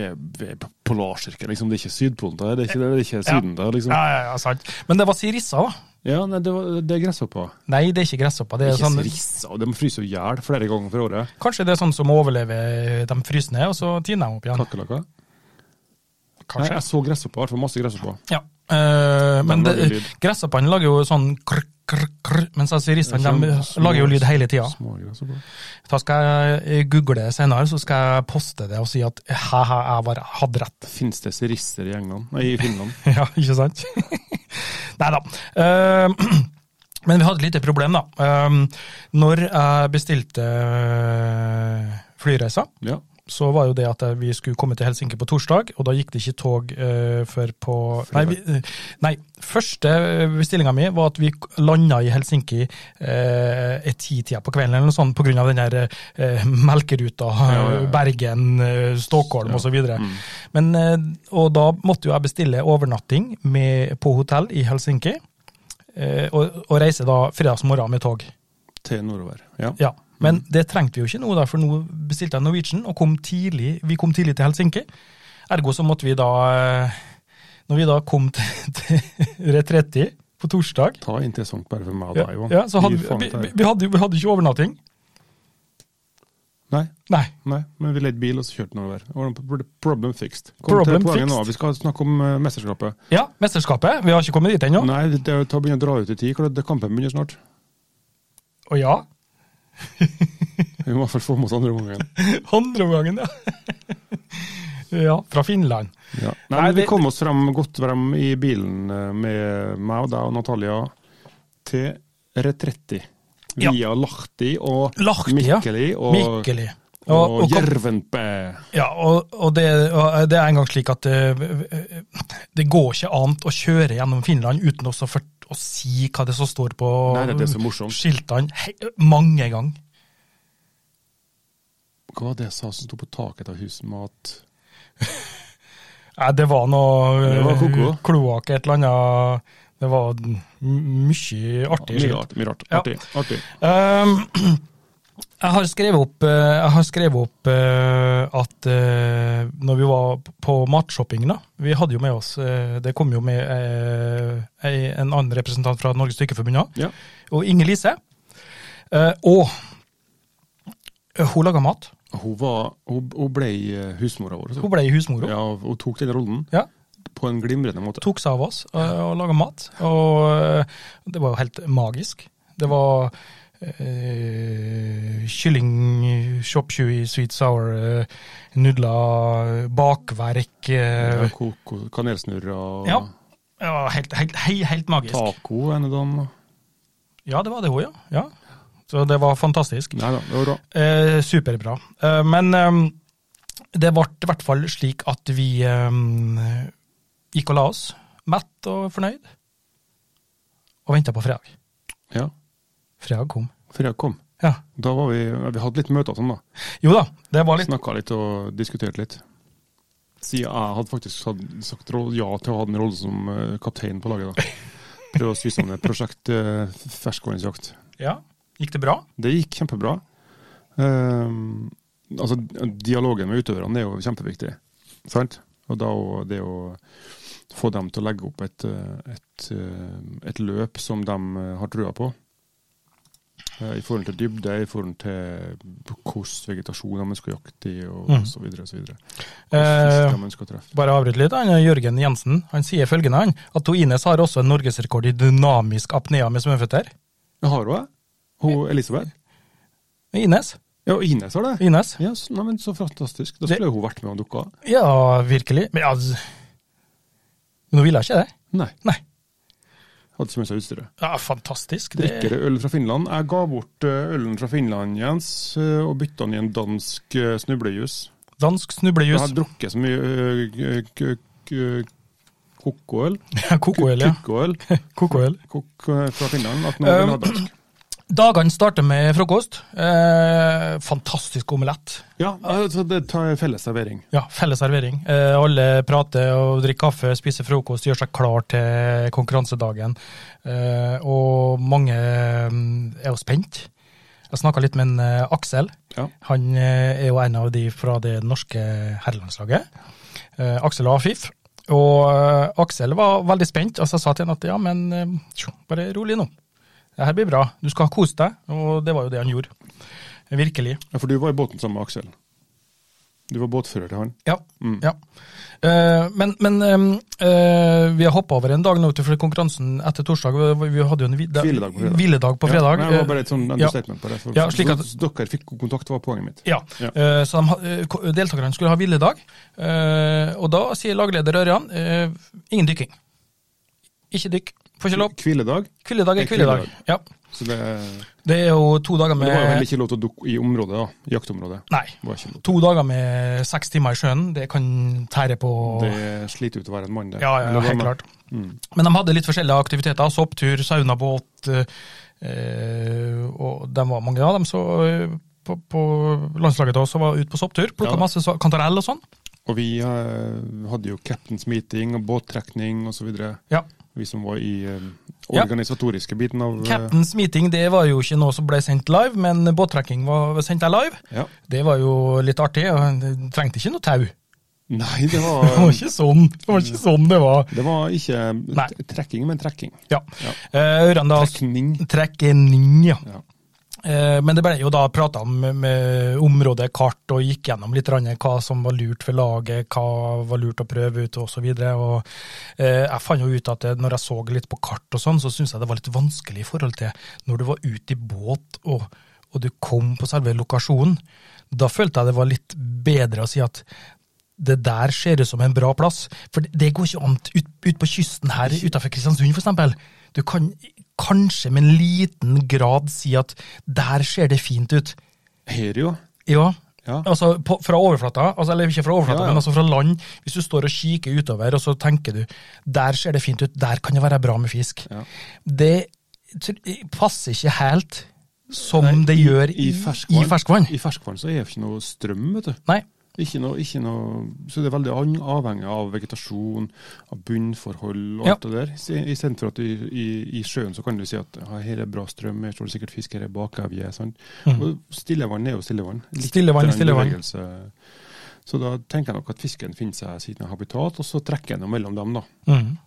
S3: vi er, vi er på Polarsirkelen, liksom. Det er ikke Sydpolen der, det er ikke, det er ikke Syden der, liksom.
S2: Ja, ja, ja, sant. Men det var sirisser, da.
S3: Ja, nei, det, var, det er gresshopper.
S2: Nei, det er ikke gresshopper. Det er
S3: Ikke
S2: sånn,
S3: sirisser, og de fryser jo i hjel flere ganger for året.
S2: kanskje det er sånn som overlever de frysende, og så tiner de opp igjen.
S3: Kakerlakker. Nei,
S2: Kanskje.
S3: jeg så gresshopper, i hvert fall masse gresshopper.
S2: Ja. Eh, men
S3: lager
S2: det-
S3: lyd.
S2: gresshoppene lager jo sånn krr, krr, krr, mens sirissene de
S3: Sånn
S2: lager jo
S3: små-
S2: lyd hele tida.
S3: Små gresshopper.
S2: Da skal jeg google det senere, så skal jeg poste det og si at ha-ha, jeg var- hadde rett.
S3: Finnes det sirisser i England? Nei, i Finland.
S2: Ja, ikke sant? Nei da. men vi hadde et lite problem, da. Ehm, når jeg bestilte eh, flyreiser,
S3: Ja.
S2: så var jo det at eh, vi skulle komme til Helsinki på torsdag, og da gikk det ikke tog eh, før på nei, vi, nei, første eh, bestillinga mi var at vi landa i Helsinki uh, i titida på kvelden, eller noe sånt, pga. den der eh, melkeruta,
S3: ja, ja.
S2: Bergen, eh, Stockholm
S3: Ja. Mm.
S2: og så osv. Men, eh, og da måtte jo jeg bestille overnatting med, på hotell i Helsinki, eh, og, og reise da fredagsmorgen med tog.
S3: til nordover. Ja.
S2: Ja, Men
S3: Mm.
S2: det trengte vi jo ikke nå, da, for nå bestilte jeg Norwegian og kom tidlig, vi kom tidlig til Helsinki. Ergo så måtte vi da eh, Når vi da kom til, til Retretti på torsdag
S3: Ta interessant bare for meg og
S2: ja,
S3: deg, Johan.
S2: ja, så hadde
S3: Gi
S2: vi,
S3: faen
S2: vi,
S3: til
S2: vi,
S3: det.
S2: vi, hadde, jo- vi hadde ikke overnatting.
S3: Nei,
S2: Nei.
S3: nei, men vi leide bil og så kjørte nordover. Det var noe Problem fixed. Kom
S2: Problem
S3: til poenget nå,
S2: fixed.
S3: vi skal snakke om eh, mesterskapet.
S2: Ja, mesterskapet. Vi har ikke kommet dit ennå.
S3: Nei, det det er å ta- begynne å dra ut i tid, for det- kampen begynner snart.
S2: Og ja,
S3: Vi må i hvert fall få med oss andre omgangen.
S2: andre omgangen, ja. ja, fra Finland.
S3: Ja. Nei,
S2: Nei,
S3: men vi
S2: det-
S3: kom oss frem, godt frem i bilen eh, med meg og deg og Natalia til Retretti.
S2: Ja.
S3: Via Lahti og
S2: Lahti, ja.
S3: Mikkeli og,
S2: Mikkeli.
S3: og,
S2: og-
S3: Jervenpä.
S2: Ja, og, og, det, og det er engang slik at eh, det går ikke an å kjøre gjennom Finland uten også for, å si hva det er som står på
S3: Nei, det er det som er morsomt.
S2: skiltene he, mange ganger.
S3: Hva var det jeg sa som sto på taket av huset med at
S2: Nei, det var noe
S3: Det var koko.
S2: kloakk, et eller annet Det var m- mye artig.
S3: Mye
S2: skilt.
S3: rart. Mye rart.
S2: Ja.
S3: Artig. artig.
S2: Um, jeg har skrevet opp, eh, jeg har skrevet opp eh, at eh, når vi var p- på matshopping da, Vi hadde jo med oss eh, Det kom jo med eh, ei- en annen representant fra Norges Dykkerforbund òg,
S3: Ja.
S2: og Inger Lise. Eh, og eh, hun laga mat.
S3: Hun, var, hun, hun ble eh, husmora vår. altså.
S2: Hun ble husmor. hun.
S3: Ja, hun tok den rollen
S2: Ja.
S3: på en glimrende måte.
S2: tok seg av oss og, og laga mat. Og eh, det var jo helt magisk. Det var eh, kylling chop chewy sweet sour, eh, nudler, bakverk eh,
S3: Ja, koko- Kanelsnurrer og
S2: Ja. det var helt, helt, helt, helt magisk.
S3: taco en av dem.
S2: Ja, det var det òg, ja. ja. Så det var fantastisk.
S3: Nei da, det var bra.
S2: Eh, superbra. Eh, men eh, det ble i hvert fall slik at vi eh, gikk og la oss, mett og fornøyd, og venta på fredag.
S3: Ja.
S2: Fredag kom.
S3: Fredag kom.
S2: Ja.
S3: Da var vi, vi hadde litt møter og sånn, da.
S2: Jo da, det var litt
S3: Snakka litt og diskuterte litt. Siden jeg hadde faktisk hatt- sagt ro- ja til å ha en rolle som eh, kaptein på laget, da. Prøve å sy sammen et prosjekt eh, ferskvannsjakt.
S2: Ja, gikk det bra?
S3: Det gikk kjempebra. Ehm, altså, dialogen med utøverne er jo kjempeviktig. Sant? Og da å- det å få dem til å legge opp et, eh, et, eh, et løp som de eh, har trua på. eh, I forhold til dybde, i forhold til hvordan vegetasjon de ønsker å jakte i, og
S2: Mhm.
S3: så videre og så videre. Hvordan
S2: Eh,
S3: fisk de ønsker å treffe.
S2: bare avbryt litt. Han, eh, Jørgen Jensen han sier følgende han, at hun Ines har også en norgesrekord i dynamisk apnea med svømmeføtter.
S3: Jeg har hun, jeg. Hun Elisabeth.
S2: Ines?
S3: Ja, og Ines har det.
S2: Ines?
S3: Ja, s- nei, men Så fantastisk. Da skulle jo hun vært med og dukka.
S2: Ja, virkelig. Men ja, z- nå ville jeg ikke det.
S3: Nei,
S2: Nei.
S3: hadde ikke med seg utstyret.
S2: Ja, fantastisk.
S3: Drikker det øl fra Finland? Jeg ga bort eh, ølen fra Finland, Jens, eh, og bytta den i en dansk eh, snublejus.
S2: Dansk
S3: Jeg
S2: snublejus.
S3: har drukket så mye eh, k- k- k- kokoøl
S2: Kokoøl, ja.
S3: Kokoøl
S2: Kokoøl.
S3: kok- eh, fra Finland at nå vil ha dansk.
S2: Dagene starter med frokost. Eh, fantastisk omelett.
S3: Ja, altså, det tar felles servering.
S2: Ja, felles servering. Eh, alle prater og drikker kaffe, spiser frokost, gjør seg klar til konkurransedagen. Eh, og mange mm, er jo spent. Jeg snakka litt med en eh, Aksel.
S3: Ja.
S2: Han eh, er jo en av de fra det norske herrelandslaget. Eh, Aksel og Afif. Og eh, Aksel var veldig spent, og så sa jeg til han at ja, men eh, tjo, bare rolig nå. Det her blir bra. Du skal kose deg. Og det var jo det han gjorde. Virkelig.
S3: Ja, For du var i båten sammen med Aksel. Du var båtfører til han.
S2: Ja.
S3: Mm.
S2: ja. Eh, men men eh, eh, vi har hoppa over en dag nå, for konkurransen etter torsdag vi, vi hadde jo en hvile-
S3: Hviledag på fredag.
S2: hviledag på fredag. Eh,
S3: Ja, nei, det var bare et sånn understatement på det. For,
S2: Ja, slik at-
S3: så dere fikk god kontakt, var poenget mitt.
S2: Ja,
S3: Ja.
S2: eh, så de, ha- eh, ko- deltakerne skulle ha hviledag, eh, og da sier lagleder Ørjan eh, ingen dykking. Ikke dykk, får ikke lov.
S3: Hviledag.
S2: Hviledag er
S3: Det er hviledag.
S2: hviledag. Ja.
S3: Så det,
S2: Det er jo to dager
S3: men det var jo heller
S2: med
S3: ikke lov til å dukke i området, da. Jaktområdet.
S2: Nei.
S3: Var ikke lov.
S2: To dager med seks timer i sjøen, det kan tære på
S3: Det sliter ut å være en mann, det.
S2: Ja, ja, ja
S3: Eller hva
S2: helt
S3: med-
S2: klart.
S3: Mm.
S2: Men de hadde litt forskjellige aktiviteter. Sopptur, saunabåt. Eh, og de var mange av dem. Så eh, på, på landslaget da, så var jeg ute på sopptur. Plukka
S3: Ja.
S2: masse sa- kantarell og sånn.
S3: Og vi eh, hadde jo captains meeting og båttrekning osv.
S2: Ja.
S3: Vi som var i eh,
S2: Ja.
S3: organisatoriske biten av eh,
S2: Captain's Meeting det var jo ikke noe som ble sendt live, men båttrekking var sendt der live.
S3: ja.
S2: Det var jo litt artig, og det trengte ikke noe tau.
S3: Nei, det
S2: Det var
S3: var,
S2: ikke sånn det var. Ikke sånn det var.
S3: det var ikke
S2: Nei.
S3: t- trekking, men trekking.
S2: Ja. Eh, Ørendal
S3: Trekning.
S2: Trekkening, ja.
S3: Ja.
S2: Eh, Men det ble jo da prata om med områdekart og gikk gjennom litt grann hva som var lurt for laget, hva var lurt å prøve ut osv. eh, Jeg fant jo ut at det- når jeg så litt på kart og sånn, så syntes jeg det var litt vanskelig i forhold til når du var ute i båt og, og du kom på selve lokasjonen. Da følte jeg det var litt bedre å si at det der ser ut som en bra plass. For det, det går ikke an ut, ut på kysten her utenfor Kristiansund, for eksempel. Du kan kanskje med en liten grad si at der ser det fint ut.
S3: Her, jo.
S2: Ja,
S3: Ja.
S2: altså på, fra overflata, altså, eller ikke fra overflata,
S3: Ja, ja.
S2: men altså fra land. Hvis du står og kikker utover, og så tenker du der ser det fint ut, der kan det være bra med fisk.
S3: Ja.
S2: Det tr- passer ikke helt som det gjør i, i ferskvann.
S3: I ferskvann så er det ikke noe strøm, vet du.
S2: Nei.
S3: Ikke noe, ikke noe, så det er veldig an- avhengig av vegetasjon, av bunnforhold og
S2: Ja.
S3: alt det der. Se- Istedenfor at i, i, i sjøen så kan du si at ja, her er bra strøm, her står det sikkert fisk, her er bakevje. sant? Og Stillevann er jo stillevann.
S2: Stillevann Mm. er
S3: grann
S2: stillevann.
S3: bevegelse. Så da tenker jeg nok at fisken finner seg sitt habitat, og så trekker en mellom dem, da.
S2: Mm.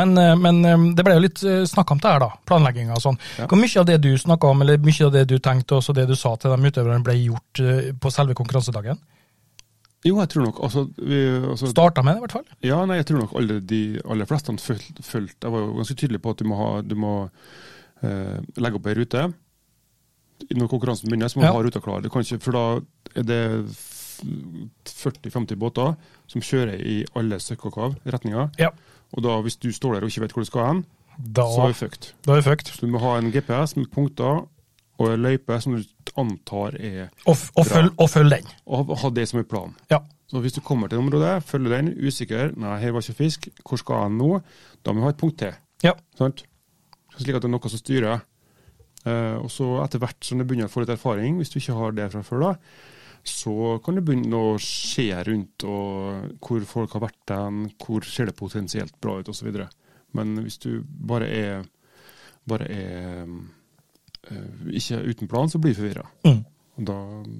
S2: Men, eh, men eh, det ble jo litt snakka om det her, da. Planlegginga og sånn.
S3: Ja.
S2: Hvor mye av det du snakka om, eller mye av det du tenkte, og så det du sa til de utøverne, ble gjort eh, på selve konkurransedagen?
S3: Jo, jeg tror nok altså, vi, altså,
S2: Starta med det, i hvert fall.
S3: Ja, nei, jeg tror nok alle de aller fleste han følt, følt Jeg var jo ganske tydelig på at du må, ha, du må eh, legge opp ei rute. Når konkurransen begynner, så må
S2: Ja.
S3: du ha ruta klar. Du kan ikke, for da er det f- 40-50 båter som kjører i alle søkkakrav-retninger.
S2: Ja.
S3: Og da, hvis du står der og ikke vet hvor du skal hen,
S2: Da,
S3: så er du fucked.
S2: da er vi fucked.
S3: Så du må ha en GPS med punkter og ei løype som du antar er
S2: Og, f- og,
S3: Bra.
S2: følg, og følg den.
S3: Og ha- ha det som en plan.
S2: Ja.
S3: Så hvis du kommer til det området, følger den, usikker, nei, her var ikke fisk, hvor skal jeg nå? Da må vi ha et punkt til,
S2: ja.
S3: sant? Så Slik at det er noe som styrer. Eh, og så etter hvert som du begynner å få litt erfaring, hvis du ikke har det fra før da, så kan det begynne å skje rundt, og hvor folk har vært den, hvor ser det potensielt bra ut, og så videre. Men hvis du bare er, bare er eh, ikke uten plan, så blir du forvirra.
S2: Mm.
S3: Og da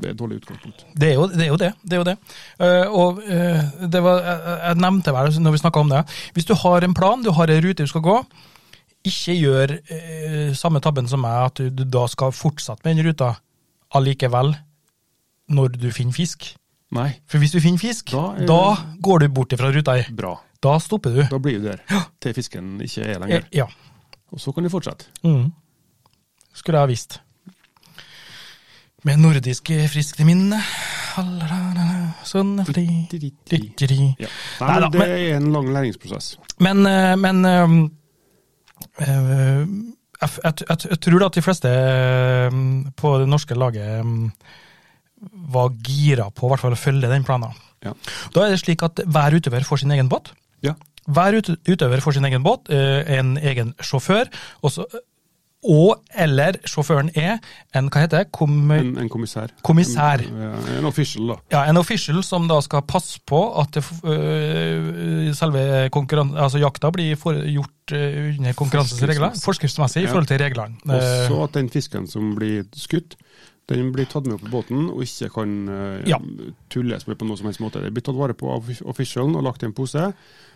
S3: det er et dårlig utgangspunkt.
S2: Det er, jo, det er jo det. det, er jo det. Eh, og eh, det var, jeg, jeg nevnte vel når vi snakka om det. Hvis du har en plan, du har en rute du skal gå, ikke gjør eh, samme tabben som meg, at du, du da skal fortsette med den ruta allikevel når du finner fisk.
S3: Nei,
S2: For hvis du finner fisk, da,
S3: Da er-
S2: går du bort ifra ruta. ei.
S3: bra.
S2: Da stopper du.
S3: Da blir du der til fisken ikke er
S2: Eh,
S3: lenger.
S2: ja.
S3: Og så kan du fortsette.
S2: Mm. Skulle jeg ha visst. Med nordiske friske minne Sånn fordi Ditteri.
S3: Ja. Nei,
S2: Neida,
S3: men det er en lang læringsprosess.
S2: Men, eh, men eh, eh, jeg, f- jeg, t- jeg, t- jeg tror da at de fleste eh, på det norske laget eh, var gira på i hvert fall å følge den planen.
S3: Ja.
S2: Da er det slik at hver utøver får sin egen båt.
S3: Ja.
S2: Hver ut- utøver får sin egen båt, eh, en egen sjåfør, og, så, og eller sjåføren er en, hva heter det, kom,
S3: En, en kommissær.
S2: Kommissær.
S3: Ja, en official, da.
S2: ja, en official som da skal passe på at det, f- øh, selve konkurran- altså jakta blir for, gjort øh, under konkurransens regler,
S3: Forskriftsmessig.
S2: forskriftsmessig i
S3: Ja.
S2: forhold til reglene.
S3: Og
S2: Eh,
S3: så at den fisken som blir skutt, den blir tatt med opp i båten og ikke kan eh,
S2: Ja.
S3: tulles med på noen som helst måte. Den blir tatt vare på av officialen og lagt i en pose,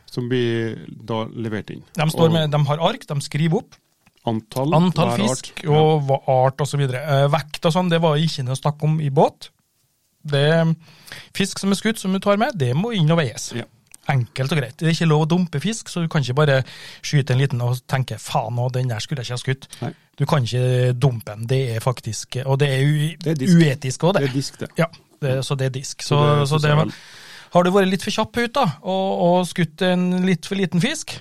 S3: som blir da levert inn.
S2: Eh, de, står
S3: Og
S2: med, de har ark, de skriver opp
S3: antall,
S2: antall
S3: hver art.
S2: fisk og hva art osv. Vekt og sånn, det var ikke noe snakk om i båt. Det, fisk som er skutt, som du tar med, det må inn og veies.
S3: Ja.
S2: Enkelt og greit. Det er ikke lov å dumpe fisk, så du kan ikke bare skyte en liten og tenke faen nå, den der skulle jeg ikke ha skutt.
S3: Nei.
S2: Du kan ikke dumpe den. Det er faktisk Og det er, u
S3: Det er disk.
S2: uetisk òg,
S3: Det
S2: det.
S3: er disk, det.
S2: Ja, det, så det er disk. Så,
S3: Så det
S2: så
S3: synes
S2: det,
S3: jeg vel.
S2: har du vært litt for kjapp ut da, og, og skutt en litt for liten fisk,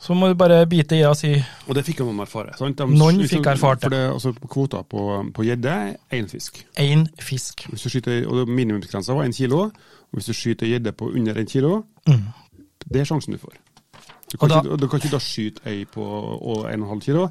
S2: så må du bare bite i og si
S3: Og det fikk jo noen erfare. Sant? De-
S2: Noen
S3: hvis du-
S2: fikk erfart det.
S3: For det er altså kvoter på på gjedde, én fisk.
S2: én fisk.
S3: Hvis du skyter, og det- Minimumsgrensa var én kilo. Og hvis du skyter gjedde på under én kilo, det er sjansen du får. Du kan,
S2: Mm. Og da-
S3: ikke, du kan ikke da skyte ei på og en og en halv kilo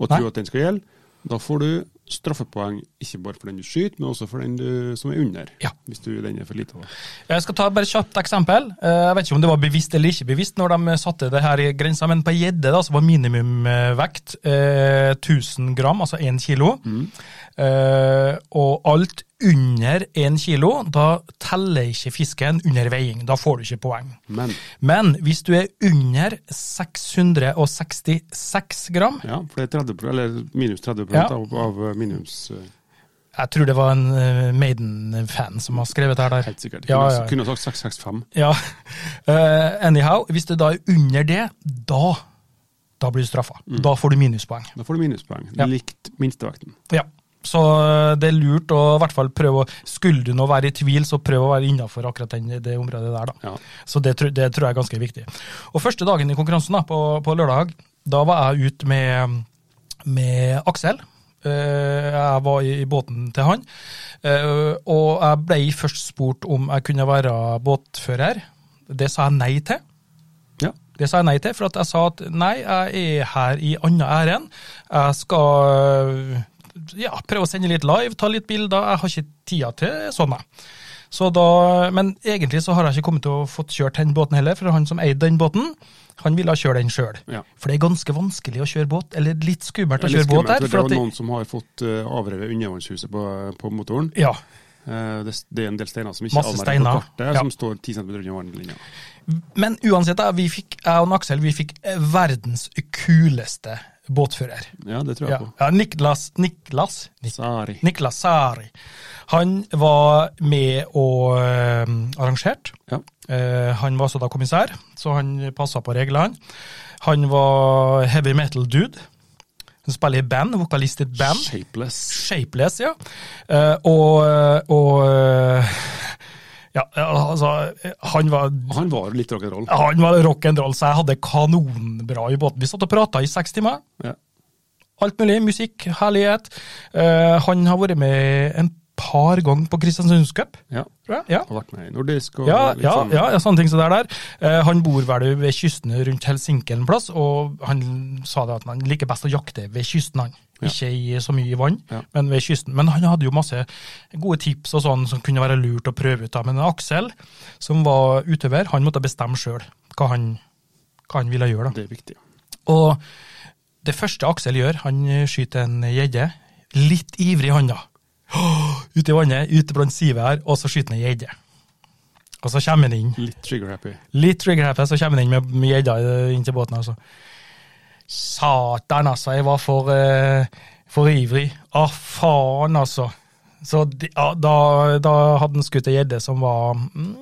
S3: og tro
S2: Nei.
S3: at den skal gjelde. Da får du straffepoeng, ikke bare for den du skyter, men også for den du, som er under.
S2: Ja.
S3: Hvis du, den er for lite. Da.
S2: Eh, Jeg skal ta bare kjapt eksempel. Eh, Jeg vet ikke om det var bevisst eller ikke bevisst når de satte det her i grensa, men på gjedde da, så var minimumvekt eh, 1000 gram, altså 1 kilo.
S3: Mm.
S2: Eh, og alt under 1 kilo, da teller ikke fisken under veiing. Da får du ikke poeng.
S3: Men
S2: Men hvis du er under 666 gram,
S3: ja, for det er 30 pro- eller minus 30
S2: Ja.
S3: av, av minus eh,
S2: jeg tror det var en eh, Maiden-fan som har skrevet det her der.
S3: Helt sikkert.
S2: Ja,
S3: Kunne-
S2: ja, ja.
S3: Kunne sagt 665.
S2: Ja. Eh, anyhow, hvis du da er under det, da, da blir du straffa. Da får du minuspoeng.
S3: Da får du minuspoeng.
S2: Ja.
S3: Likt minstevekten.
S2: Ja. Så eh, det er lurt å i hvert fall prøve å Skulle du nå være i tvil, så prøv å være innafor akkurat den, det området der, da.
S3: Ja.
S2: Så det, tror- det tror jeg er ganske viktig. Og første dagen i konkurransen, da, på, på lørdag, da var jeg ute med, med Aksel. Eh, jeg var i, i båten til han. Eh, og jeg ble først spurt om jeg kunne være båtfører. Det sa jeg nei til.
S3: ja.
S2: Det sa jeg nei til, for at jeg sa at nei, jeg er her i annet ærend. Jeg skal ja, prøve å sende litt live, ta litt bilder. Jeg har ikke tida til sånne. Så da, men egentlig så har jeg ikke kommet til å fått kjørt den båten heller, for han som eide den båten, han ville kjøre den sjøl.
S3: Ja.
S2: For det er ganske vanskelig å kjøre båt, eller litt skummelt å
S3: Det er litt
S2: kjøre båt
S3: skummelt,
S2: der.
S3: for Det
S2: For
S3: var
S2: at det,
S3: noen som har fått eh, avrevet undervannshuset på, på motoren.
S2: ja,
S3: Eh, Det, det er en del steiner som ikke
S2: Masse
S3: er avmerket
S2: steiner.
S3: på kartet,
S2: Ja.
S3: som står 10 cm under vannlinja.
S2: Men uansett, da, vi fikk, jeg og Aksel vi fikk eh, verdens kuleste båtfører.
S3: Ja, det tror jeg
S2: Ja,
S3: på.
S2: ja Niklas, Niklas, Niklas
S3: Sari.
S2: Niklas Sari. Han var med og eh, arrangerte.
S3: Ja.
S2: Eh, han var også da kommissær, så han passa på reglene. Han var heavy metal dude. Han spiller i band, vokalist i et band.
S3: Shapeless.
S2: Shapeless, ja. Eh, og og eh, ja, altså Han var
S3: Han var litt rock'n'roll.
S2: han var rock'n'roll, så jeg hadde kanonbra i båten. Vi satt og prata i seks timer.
S3: Ja.
S2: Alt mulig. Musikk, herlighet. Eh, han har vært med en par ganger på Kristiansunds Cup,
S3: ja.
S2: tror jeg. Ja.
S3: Har vært med i nordisk og
S2: Ja,
S3: litt
S2: ja,
S3: sånn.
S2: ja, ja, sånne ting som det er der. Eh, han bor vel ved kysten rundt Helsinki en plass, og han sa det at han liker best å jakte ved kysten, han.
S3: Ja.
S2: Ikke i, så mye i vann,
S3: Ja.
S2: men ved kysten. Men han hadde jo masse gode tips og sånn som kunne være lurt å prøve ut. da. Men Aksel, som var utøver, han måtte bestemme sjøl hva, han- hva han ville gjøre. da.
S3: Det er viktig.
S2: Og det første Aksel gjør, han skyter en gjedde, litt ivrig i handa. Ute i vannet, ute blant sivet her, og så skyter han en gjedde. Og så kommer han inn.
S3: Litt trigger-happy.
S2: Litt trigger happy, så kommer han inn med- med gjedda inn til båten, altså. Satan, altså. Jeg var for, eh, for ivrig. Å, faen, altså. Så de, ja, da, da hadde han skutt ei gjedde som var mm,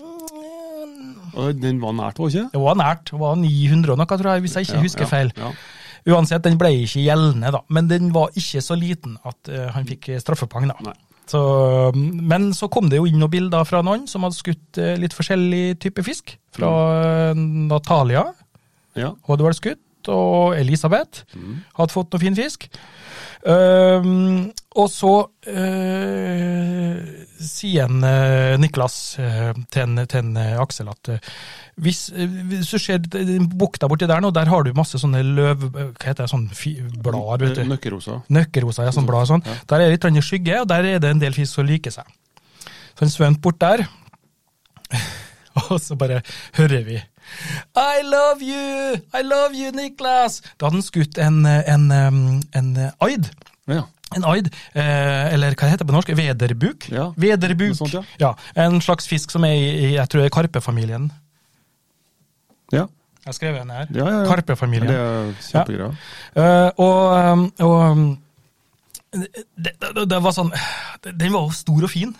S3: Og den var nært, var ikke?
S2: Det var nært. Det var 900 og noe, tror jeg, hvis jeg ikke
S3: Ja,
S2: husker
S3: ja,
S2: feil.
S3: Ja.
S2: Uansett, den ble ikke gjeldende, da. Men den var ikke så liten at eh, han fikk straffepang, da.
S3: Nei.
S2: Så, mm, men så kom det jo inn noen bilder fra noen som hadde skutt eh, litt forskjellig type fisk. Fra eh,
S3: Mm.
S2: Natalia
S3: Ja.
S2: hadde vært skutt, og Elisabeth hadde fått noe fin fisk. Ehm, og så eh, sier en, eh, Niklas eh, til, en, til en eh, Aksel at eh, hvis, eh, hvis du ser d- d- bukta borti der nå, der har du masse sånne løv... øh, Hva heter det, sånne fi- blader, vet du.
S3: Eh, Nøkkelrosa.
S2: Nøkkelrosa, ja,
S3: Mm.
S2: sånn blad og sånn. Der er det litt grann skygge, og der er det en del fisk som liker seg. Så han svømte bort der, og så bare hører vi I love you! I love you, Niklas! Da hadde han skutt en, en, um, en aid.
S3: Ja.
S2: En aid, eh, eller hva heter det på norsk? Vederbuk?
S3: Ja,
S2: Vederbuk.
S3: noe sånt, ja.
S2: En slags fisk som er i, i- jeg tror det er karpefamilien.
S3: Ja.
S2: Jeg skrev den her.
S3: Ja, ja, ja.
S2: Karpefamilien.
S3: Det er kjempegreier.
S2: Eh, og um, og um, det, det, det var sånn det- Den var jo stor og fin.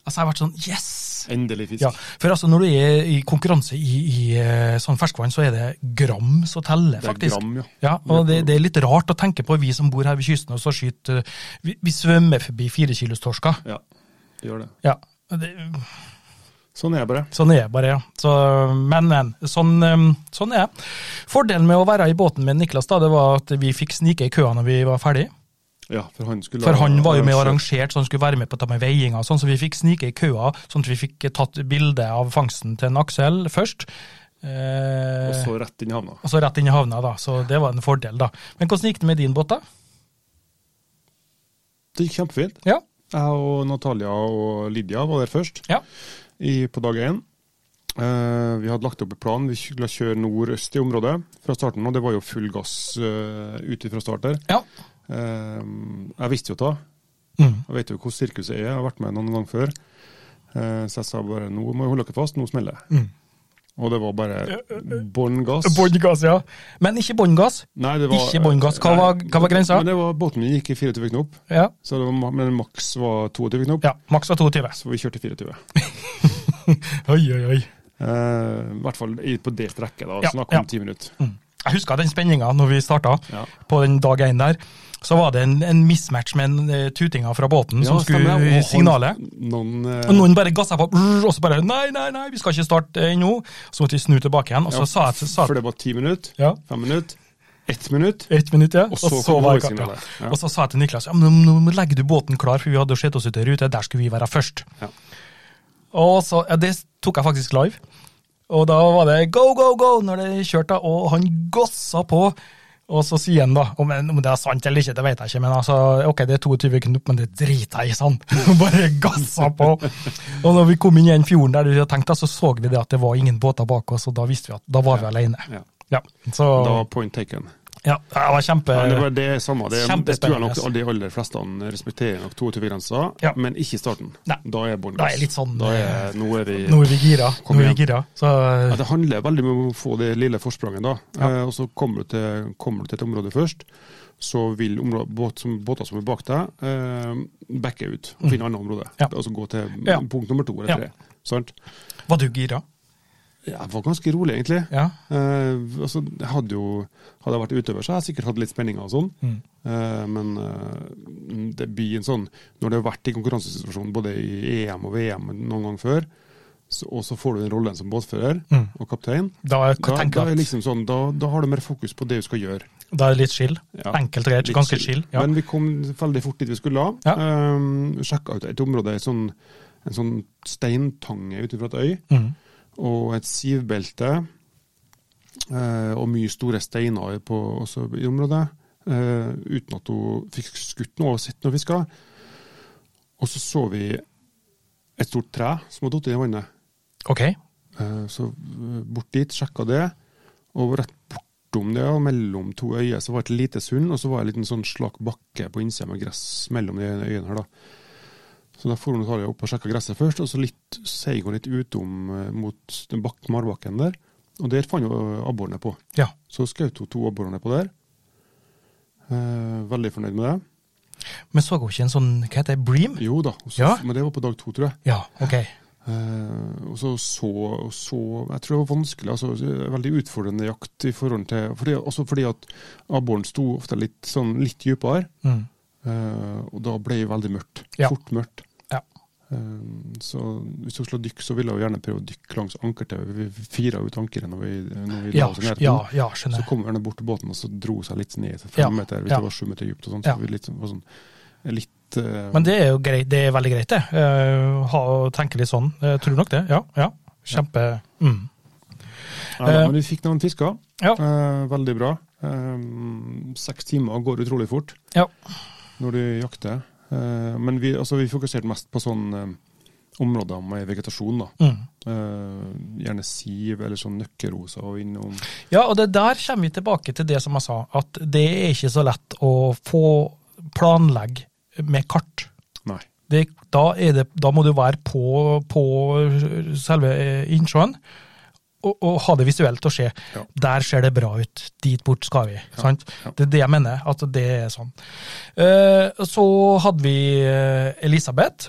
S2: Altså, jeg har vært sånn Yes!
S3: Endelig fisk.
S2: Ja, for altså, når du er i konkurranse i, i eh, sånn ferskvann, så er det gram som teller,
S3: Det er
S2: faktisk.
S3: gram, ja.
S2: og det, det er litt rart å tenke på, vi som bor her ved kysten, og så skyter eh, Vi, vi svømmer forbi firekilostorsker.
S3: Ja. Det Gjør det.
S2: Ja. Det,
S3: Sånn er det bare.
S2: Sånn er jeg bare, ja. Så, men, men. Sånn, ehm, sånn er jeg. Fordelen med å være i båten med Niklas, da, det var at vi fikk snike i køa når vi var ferdig.
S3: Ja, for han skulle
S2: For han var jo med og
S3: arrangere-
S2: arrangert, så han skulle være med på det med veiinga, og sånn, så vi fikk snike i køa, sånn at vi fikk tatt bilde av fangsten til en Aksel først. Eh,
S3: Og så rett inn i havna.
S2: og så rett inn i havna, da. Så det var en fordel, da. Men hvordan gikk det med din båt, da?
S3: Det gikk kjempefint.
S2: Ja.
S3: Jeg og Natalia og Lydia var der først
S2: Ja.
S3: i, på dag én. Eh, vi hadde lagt opp en plan. Vi skulle kjøre nordøst i området fra starten. Og det var jo full gass uh, ute fra start der.
S2: ja.
S3: Eh, jeg visste jo da.
S2: Mm.
S3: Jeg vet jo hvordan sirkuset er. Jeg har vært med noen ganger før. Eh, så jeg sa bare nå må jeg holde dere fast, nå smeller det.
S2: Mm.
S3: Og det var bare bånn gass.
S2: Bånngass, ja. Men ikke bånngass.
S3: Nei, det var-
S2: Ikke bånn gass. Hva var-
S3: Nei,
S2: hva var grensa?
S3: Men det var, Båten min gikk i 24 knop,
S2: Ja.
S3: så det var, ma- men maks var 22 knop.
S2: ja. Maks var 22.
S3: Så vi kjørte 24.
S2: Oi, oi, oi.
S3: Eh, I hvert fall i- på det strekket, da.
S2: Ja,
S3: Snakk
S2: ja.
S3: om ti minutter.
S2: Mm. Jeg husker den spenninga når vi starta
S3: Ja.
S2: på den dag én der. Så var det en, en mismatch med en eh, tutinga fra båten som
S3: Ja,
S2: skulle
S3: stemmer. Og
S2: i
S3: han-
S2: signalet.
S3: Noen, eh,
S2: Og noen bare gassa på, brrr, og så bare Nei, nei, nei, vi skal ikke starte ennå. Så måtte vi snu tilbake igjen, og så
S3: Ja,
S2: sa jeg sa,
S3: For det var ti minutter,
S2: Ja.
S3: fem minutter, ett minutt.
S2: Ett minutt, ja.
S3: Og så kom
S2: var jeg-
S3: hovedsignalet.
S2: ja.
S3: Ja.
S2: Og så sa jeg til Niklas ja, men nå må- legger du båten klar, for vi hadde sett oss ut i rute, der skulle vi være først.
S3: Ja.
S2: Og så, ja, Det tok jeg faktisk live. Og da var det go, go, go når det kjørte, og han gossa på. Og så sier han da, om, om det er sant eller ikke, det vet jeg ikke, men altså, ok, det er 22 knop, men det driter jeg i, sånn. Bare gassa på. Og når vi kom inn i den fjorden der du tenkte, så så vi det at det var ingen båter bak oss, og da visste vi at da var vi alene.
S3: Ja.
S2: Ja, så,
S3: Da var point taken.
S2: ja, det var kjempe...
S3: Men det var det samme. Det, det tror jeg
S2: Kjempespennende.
S3: nok
S2: altså.
S3: de aller fleste respekterer nok 22-grensa,
S2: Ja.
S3: men ikke i starten.
S2: Nei.
S3: Da er bånn
S2: Da er
S3: gass.
S2: litt sånn,
S3: Da er, nå er vi,
S2: Nå er vi gira.
S3: Kom
S2: Nå er vi
S3: igjen.
S2: gira. Så
S3: ja, det handler veldig om å få det lille forspranget, da. Eh, og så kommer du, til, kommer du til et område først, så vil området, båt som, båter som er bak deg, eh, backe ut og finne annet område.
S2: Mm. Ja.
S3: Altså gå til
S2: Ja.
S3: punkt nummer to eller
S2: Ja.
S3: tre. Sant?
S2: var du gira?
S3: Ja, det var ganske rolig, egentlig.
S2: Ja.
S3: Eh, altså, jeg hadde jo Hadde jeg vært utøver, så hadde jeg sikkert hatt litt spenninger og sånn.
S2: Mm.
S3: Eh, men eh, det blir en sånn Når du har vært i konkurransesituasjonen både i EM og VM noen gang før, så, og så får du den rollen som båtfører
S2: Mm.
S3: og kaptein,
S2: Da,
S3: da,
S2: tenker
S3: da,
S2: jeg
S3: er
S2: at-
S3: liksom sånn, da, da har du mer fokus på det du skal gjøre.
S2: da er det litt chill.
S3: Ja,
S2: Enkelt og greit.
S3: Litt
S2: Ganske chill. Ja.
S3: Men vi kom veldig fort dit vi skulle.
S2: Ja.
S3: Ja. Sjekka ut et område, en sånn, en sånn steintange ute fra et øy
S2: Mm.
S3: og et sivbelte eh, og mye store steiner på, også i området, eh, uten at hun fikk skutt noe og sett noe fisker. Og så så vi et stort tre som hadde falt i vannet.
S2: Ok.
S3: Eh, så eh, bort dit, sjekka det, og rett bortom det, og mellom to øyer, så var det et lite sund, og så var det en liten sånn slak bakke på innsida med gress mellom de øyene her, da. Så da for Natalia opp og sjekka gresset først, og så litt, seig hun litt utom eh, mot den bak, marbakken der, og der fant hun abborene på.
S2: Ja.
S3: Så skjøt hun to abborene på der. Eh, veldig fornøyd med det.
S2: Men så hun ikke en sånn, hva heter det, bream?
S3: Jo da, og så,
S2: Ja.
S3: men det var på dag to, tror jeg.
S2: Ja, ok.
S3: Eh, og så, så, og så Jeg tror det var vanskelig, altså eh, veldig utfordrende jakt i forhold til fordi, Også fordi at abboren sto ofte litt, sånn, litt dypere,
S2: Mm.
S3: eh, og da ble det veldig mørkt.
S2: Ja.
S3: Fort mørkt.
S2: Ja.
S3: Eh, så hvis hun skulle dykke, så ville hun gjerne prøve å dykke langs ankertauet. Vi fira ut ankeret når vi, når vi la
S2: Ja,
S3: oss i nærheten.
S2: ja, ja,
S3: Så
S2: skjønner.
S3: kom hun bort til båten og så dro hun seg litt ned til
S2: Ja,
S3: fem meter, hvis
S2: ja.
S3: det var sju meter dypt. og sånt,
S2: Ja.
S3: så vi litt, sånn- var sånn, litt eh,
S2: Men det er jo greit, det er veldig greit, det. Eh, ha, tenke litt sånn. Eh, tror nok det. Ja. ja. Kjempe mm.
S3: Ja, da,
S2: Eh,
S3: men vi fikk noen fisker.
S2: Ja.
S3: Eh, veldig bra. Eh, seks timer går utrolig fort
S2: Ja.
S3: når du jakter. Eh, men vi, altså, vi fokuserte mest på sånne eh, områder med vegetasjon. da.
S2: Mm.
S3: Eh, gjerne siv eller sånn nøkkelroser og innom.
S2: Ja, og det der kommer vi tilbake til det som jeg sa, at det er ikke så lett å få planlegge med kart.
S3: Nei.
S2: Det, da, er det, da må du være på, på selve eh, innsjøen og, og ha det visuelt å se.
S3: Ja.
S2: Der ser det bra ut, dit bort skal vi. sant?
S3: ja.
S2: Det er det jeg mener, at det er sånn. Eh, så hadde vi eh, Elisabeth.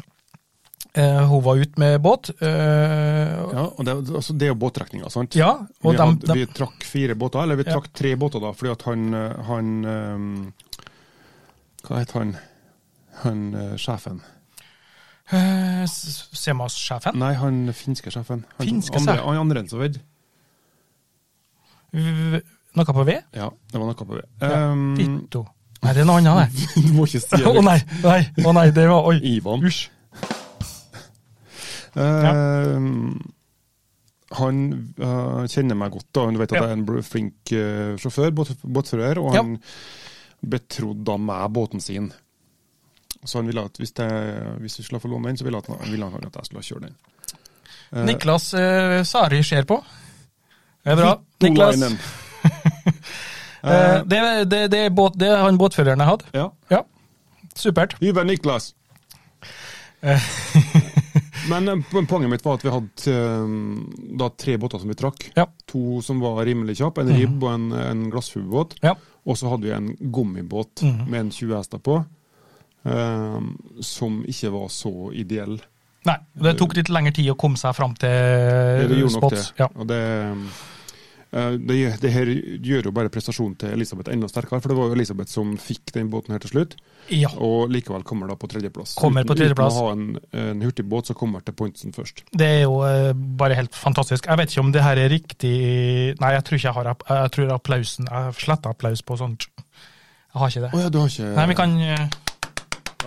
S2: Eh, hun var ute med båt. Eh,
S3: Ja, og Det, altså, det er jo båtrekninga, sant?
S2: ja, og
S3: vi,
S2: dem-
S3: hadde,
S2: dem-
S3: vi trakk fire båter, eller vi
S2: Ja.
S3: trakk tre båter, da, fordi at han, eh, han eh, Hva het han? Han eh, sjefen?
S2: eh, s- Semas-sjefen.
S3: Nei, han finske sjefen. Han,
S2: Finske
S3: andre,
S2: sjef?
S3: han andre enn som vedd.
S2: V- Noe på V?
S3: Ja, det var noe på det.
S2: Ja,
S3: Ehm,
S2: Ditto. Nei, det er noe annet, det.
S3: du må ikke si det.
S2: Å nei, nei, å nei, det var Oi.
S3: Ivan.
S2: Usj.
S3: Ehm, han eh, kjenner meg godt, da. Han vet at
S2: Ja.
S3: jeg er en br- flink eh, sjåfør, båt, båtfører, og han betrodd betrodd da meg båten sin. Så han ville at hvis, jeg- hvis vi skulle få låne den, så ville han, ville han at jeg skulle kjøre den. Eh,
S2: Niklas eh, Sari ser på. Det er bra. Niklas.
S3: Olainen.
S2: Eh, det, det, det, er båt, det er han båtføreren jeg hadde.
S3: Ja.
S2: Ja. Supert.
S3: Iver Niklas.
S2: Eh.
S3: Men eh, po- poenget mitt var at vi hadde eh, da tre båter som vi trakk.
S2: Ja.
S3: To som var rimelig kjappe, en ribb og en, en glassfuglebåt.
S2: Ja.
S3: Og så hadde vi en gummibåt
S2: Mhm.
S3: med en 20 hester på, eh, som ikke var så ideell.
S2: Nei, det tok litt lengre tid å komme seg fram
S3: Det, det
S2: til
S3: gjorde nok det.
S2: spots. Ja.
S3: Og det, eh, det, gjør- det her gjør jo bare prestasjonen til Elisabeth enda sterkere, for det var jo Elisabeth som fikk den båten her til slutt.
S2: ja,
S3: Og likevel kommer da på tredjeplass.
S2: Kommer på tredjeplass.
S3: Uten å ha en, en hurtigbåt, så kommer til Pointsen først.
S2: det er jo eh, bare helt fantastisk. Jeg vet ikke om det her er riktig Nei, jeg tror ikke jeg har app- Jeg tror applausen Jeg sletter applaus på sånt. Jeg har ikke
S3: Å
S2: det.
S3: ja, du har ikke
S2: Nei, vi kan eh,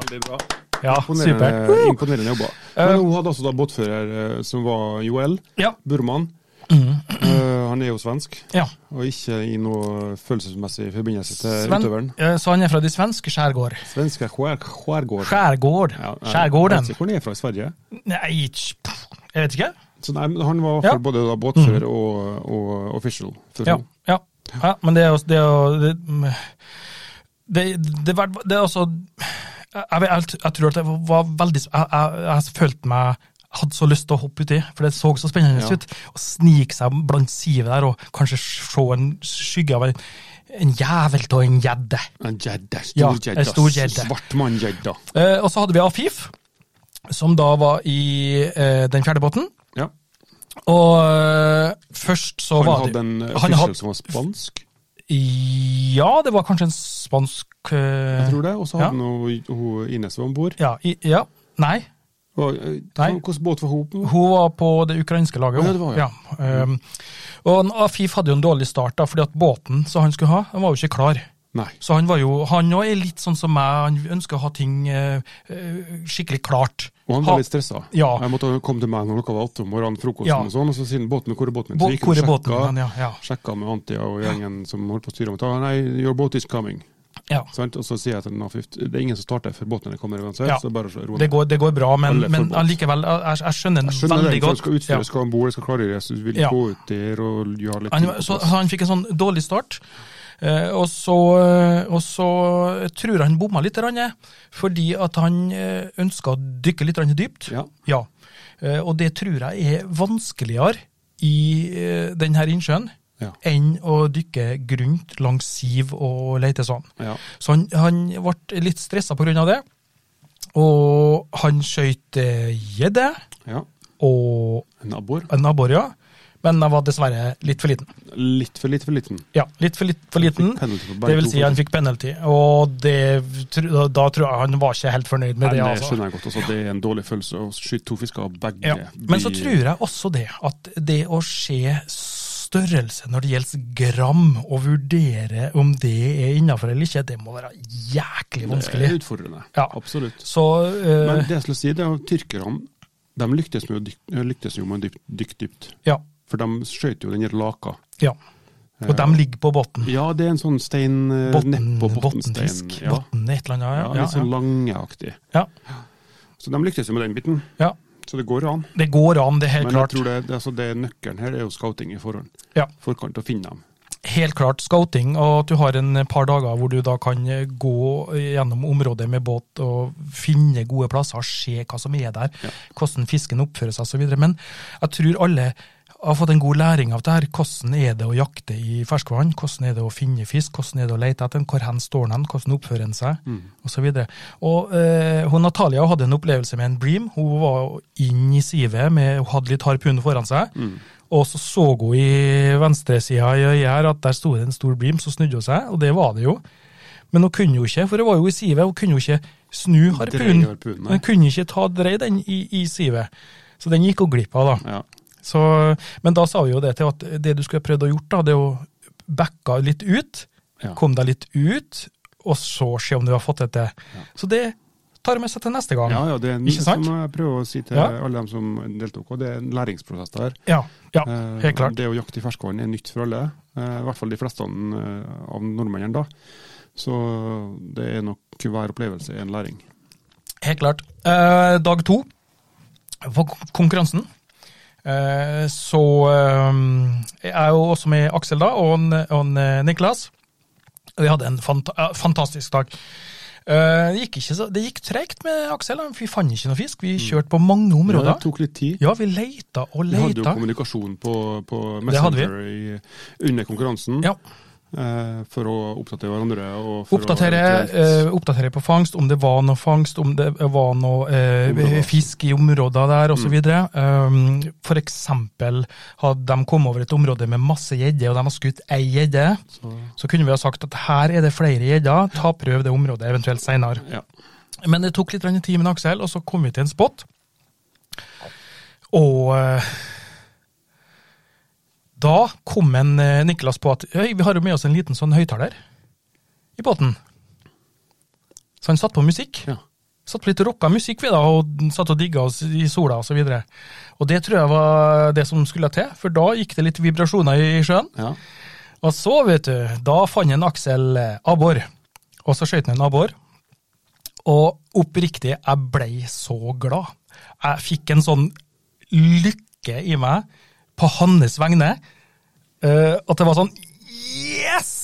S3: Veldig bra.
S2: Ja, supert.
S3: Imponerende, imponerende jobba.
S2: Eh.
S3: Men hun hadde altså da båtfører eh, som var Joel,
S2: Ja.
S3: burman.
S2: Mm.
S3: Eh, han er jo svensk,
S2: ja.
S3: og ikke i noe følelsesmessig forbindelse til
S2: Sven,
S3: utøveren.
S2: eh, så han er fra de svenske skjærgård.
S3: Svenske skjær, skjærgård.
S2: Skjærgård.
S3: Ja, nei,
S2: Skjærgården.
S3: Jeg vet ikke hvor han er fra i Sverige.
S2: Nei, tj- pff, jeg vet ikke.
S3: Så nei, men han var i hvert fall
S2: Ja. Mm.
S3: både da båtfører og, og official. for
S2: Ja,
S3: hun.
S2: ja, ja men det er jo Det, er jo- det, det, det, var- det er altså jeg, jeg, vet- jeg tror at det var veldig Jeg, jeg, jeg følte meg jeg hadde så lyst til å hoppe uti, for det så så spennende
S3: Ja.
S2: ut. Å snike seg blant sivet der og kanskje se en skygge av en, en jævel av en gjedde.
S3: En gjedde.
S2: Ja,
S3: Stor gjedde.
S2: en stor
S3: ass.
S2: gjedde.
S3: Svart mann-gjedda.
S2: Eh, og så hadde vi Afif, som da var i eh, den fjerde båten.
S3: Ja.
S2: Og eh, først så
S3: Han
S2: var det
S3: hadde en eh,
S2: han
S3: official
S2: hadde-
S3: som var spansk,
S2: Ja, det var kanskje en spansk
S3: jeg
S2: eh,
S3: tror det. Og så
S2: ja.
S3: hadde hun- hun Ines var om bord.
S2: Ja, i, ja. Nei, Nei.
S3: Hvilken båt var hun på?
S2: hun var på det ukrainske laget.
S3: Ja,
S2: hun.
S3: det var, ja.
S2: ehm, og han- Afif hadde jo en dårlig start, da, fordi at båten som han skulle ha, den var jo ikke klar.
S3: Nei.
S2: Så han var jo, han òg er litt sånn som meg, han ønsker å ha ting eh, eh, skikkelig klart.
S3: Og han
S2: Ha-
S3: var litt stressa.
S2: Ja.
S3: Jeg måtte komme til meg når klokka var åtte om morgenen, frokosten
S2: Ja.
S3: og sånn, og så sier han båten min, hvor er båten min?
S2: Bå-
S3: Så gikk
S2: hvor
S3: han
S2: er båten
S3: sjekka-
S2: min? Ja, ja.
S3: Sjekka med Antia og gjengen som holdt på å styre om. Ta, Nei, your boat is coming.
S2: ja.
S3: Sant? Og så sier jeg til Nafif det er ingen som starter før båten kommer uansett,
S2: Ja.
S3: så bare ro
S2: Det
S3: ned.
S2: går, det går bra, men,
S3: Alle er
S2: men
S3: forbåt.
S2: allikevel, jeg, jeg skjønner den
S3: Jeg skjønner det,
S2: veldig
S3: for
S2: godt.
S3: det skal utstyres,
S2: Ja.
S3: skal ha om bord, skal klargjøres, du vil
S2: Ja.
S3: gå ut der og gjøre litt
S2: Han,
S3: ting på
S2: så,
S3: plass.
S2: så han fikk en sånn dårlig start, eh, og, så, og så tror jeg han bomma litt, grann, jeg, fordi at han ønska å dykke litt grann dypt.
S3: Ja.
S2: Eh, Og det tror jeg er vanskeligere i denne innsjøen
S3: Ja.
S2: enn å dykke grunt langs siv og leite sånn.
S3: Ja.
S2: Så han, han ble litt stressa pga. det, og han skøyt eh, gjedde
S3: ja.
S2: og
S3: En abbor.
S2: en abbor, ja, men jeg var dessverre litt for liten.
S3: Litt for litt for liten.
S2: Ja, litt for, litt, for liten.
S3: Fikk penalty på begge
S2: Det vil
S3: to,
S2: si han fikk penalty, og det, tr- da tror jeg han var ikke helt fornøyd med
S3: Nei,
S2: det.
S3: det
S2: altså.
S3: skjønner jeg godt. Altså, det er en dårlig følelse å skyte to fisker av begge.
S2: Ja. Men så
S3: blir-
S2: tror jeg også det, at det å se størrelse når det gjelder gram, og vurdere om det er innafor eller ikke, det må være jæklig
S3: Det
S2: vanskelig.
S3: er utfordrende.
S2: Ja.
S3: Absolutt.
S2: Så eh,
S3: Men det jeg skulle si, det er at tyrkerne de lyktes, med å dyk, eh, lyktes jo med å dykke dykke dypt.
S2: ja,
S3: For de skjøt jo den der laka.
S2: ja. Og de ligger på bunnen.
S3: Ja, det er en sånn stein eh,
S2: Botten,
S3: nedpå bottenstein.
S2: bottenfisk,
S3: Ja.
S2: botten et eller
S3: Ja,
S2: annet. Ja,
S3: litt sånn
S2: ja,
S3: langeaktig.
S2: ja.
S3: Så de lyktes jo med den biten.
S2: ja, ja.
S3: Så det går an.
S2: Det går an, det er helt
S3: Men jeg
S2: klart.
S3: tror det, det, altså det nøkkelen her er jo scouting i forhånd.
S2: Ja.
S3: Forkant å finne dem.
S2: helt klart scouting, og at du har en par dager hvor du da kan eh, gå gjennom området med båt og finne gode plasser, se hva som er der,
S3: Ja.
S2: hvordan fisken oppfører seg osv. Men jeg tror alle har fått en god læring av det her. Hvordan er det å jakte i ferskvann, hvordan er det å finne fisk, hvordan er det å lete etter den, hvor hen står den, hvordan oppfører den seg,
S3: Mm.
S2: osv. Eh, hun Natalia hadde en opplevelse med en bream. Hun var inn i sivet, med, hun hadde litt harpun foran seg.
S3: Mm.
S2: Og så så hun i venstresida i øyet her at der sto det en stor bream, så snudde hun seg, og det var det jo. Men hun kunne jo ikke, for hun var jo i sivet, hun kunne jo ikke snu harpunen.
S3: harpunen, nei.
S2: Hun kunne ikke ta dreie den i, i sivet. Så den gikk hun glipp av, da.
S3: Ja.
S2: Så, men da sa vi jo det til at det du skulle ha prøvd å gjort, da, det er å backa litt ut,
S3: Ja.
S2: kom deg litt ut, og så se om du har fått det til. Så det tar jeg med seg til neste gang.
S3: Ja, ja, det er en,
S2: Ikke sant?
S3: som jeg prøver å si til
S2: Ja.
S3: alle dem som deltok, og det er en læringsprosess der.
S2: Ja, ja,
S3: Eh,
S2: helt klart.
S3: Det å jakte i ferskvann er nytt for alle, eh, i hvert fall de fleste eh, av nordmennene da. Så det er nok hver opplevelse er en læring.
S2: Helt klart. Eh, dag to på kon- konkurransen. eh, så eh, jeg er jo også med Aksel da, og, en- og en, eh, Niklas. Vi hadde en fanta eh, fantastisk dag. Eh, det gikk, ikke så, det gikk tregt med Aksel. han- Vi fant ikke noe fisk. Vi kjørte på mange
S3: Det
S2: områder.
S3: tok litt tid.
S2: Ja, vi leita og
S3: Mm. Vi hadde jo
S2: leita.
S3: kommunikasjon på, på
S2: Det hadde vi.
S3: Messenger i, under konkurransen
S2: Ja,
S3: eh, for å oppdatere hverandre. Og for
S2: oppdatere,
S3: å,
S2: eh, oppdatere på fangst, om det var noe fangst, om det var noe eh,
S3: Områder. Mm.
S2: fisk i områder der osv. Um, for eksempel hadde de kommet over et område med masse gjedder, og de har skutt ei gjedde.
S3: så,
S2: Så kunne vi ha sagt at her er det flere gjedder, ta prøv det området eventuelt seinere.
S3: ja.
S2: Men det tok litt grann tid med Aksel, og så kom vi til en spot. Og eh, da kom en eh, Niklas på at «Øy, vi har jo med oss en liten sånn høyttaler i båten. Så han satte på musikk.
S3: Ja.
S2: Satt på litt rocka musikk vi da, og satt og digga oss i sola osv. Og, så videre. og det tror jeg var det som skulle til, for da gikk det litt vibrasjoner i sjøen.
S3: ja.
S2: Og så, vet du, da fant en Aksel eh, abbor, og så skjøt han en abbor. Og oppriktig, jeg blei så glad. Jeg fikk en sånn lykke i meg på hans vegne, eh, at det var sånn Yes!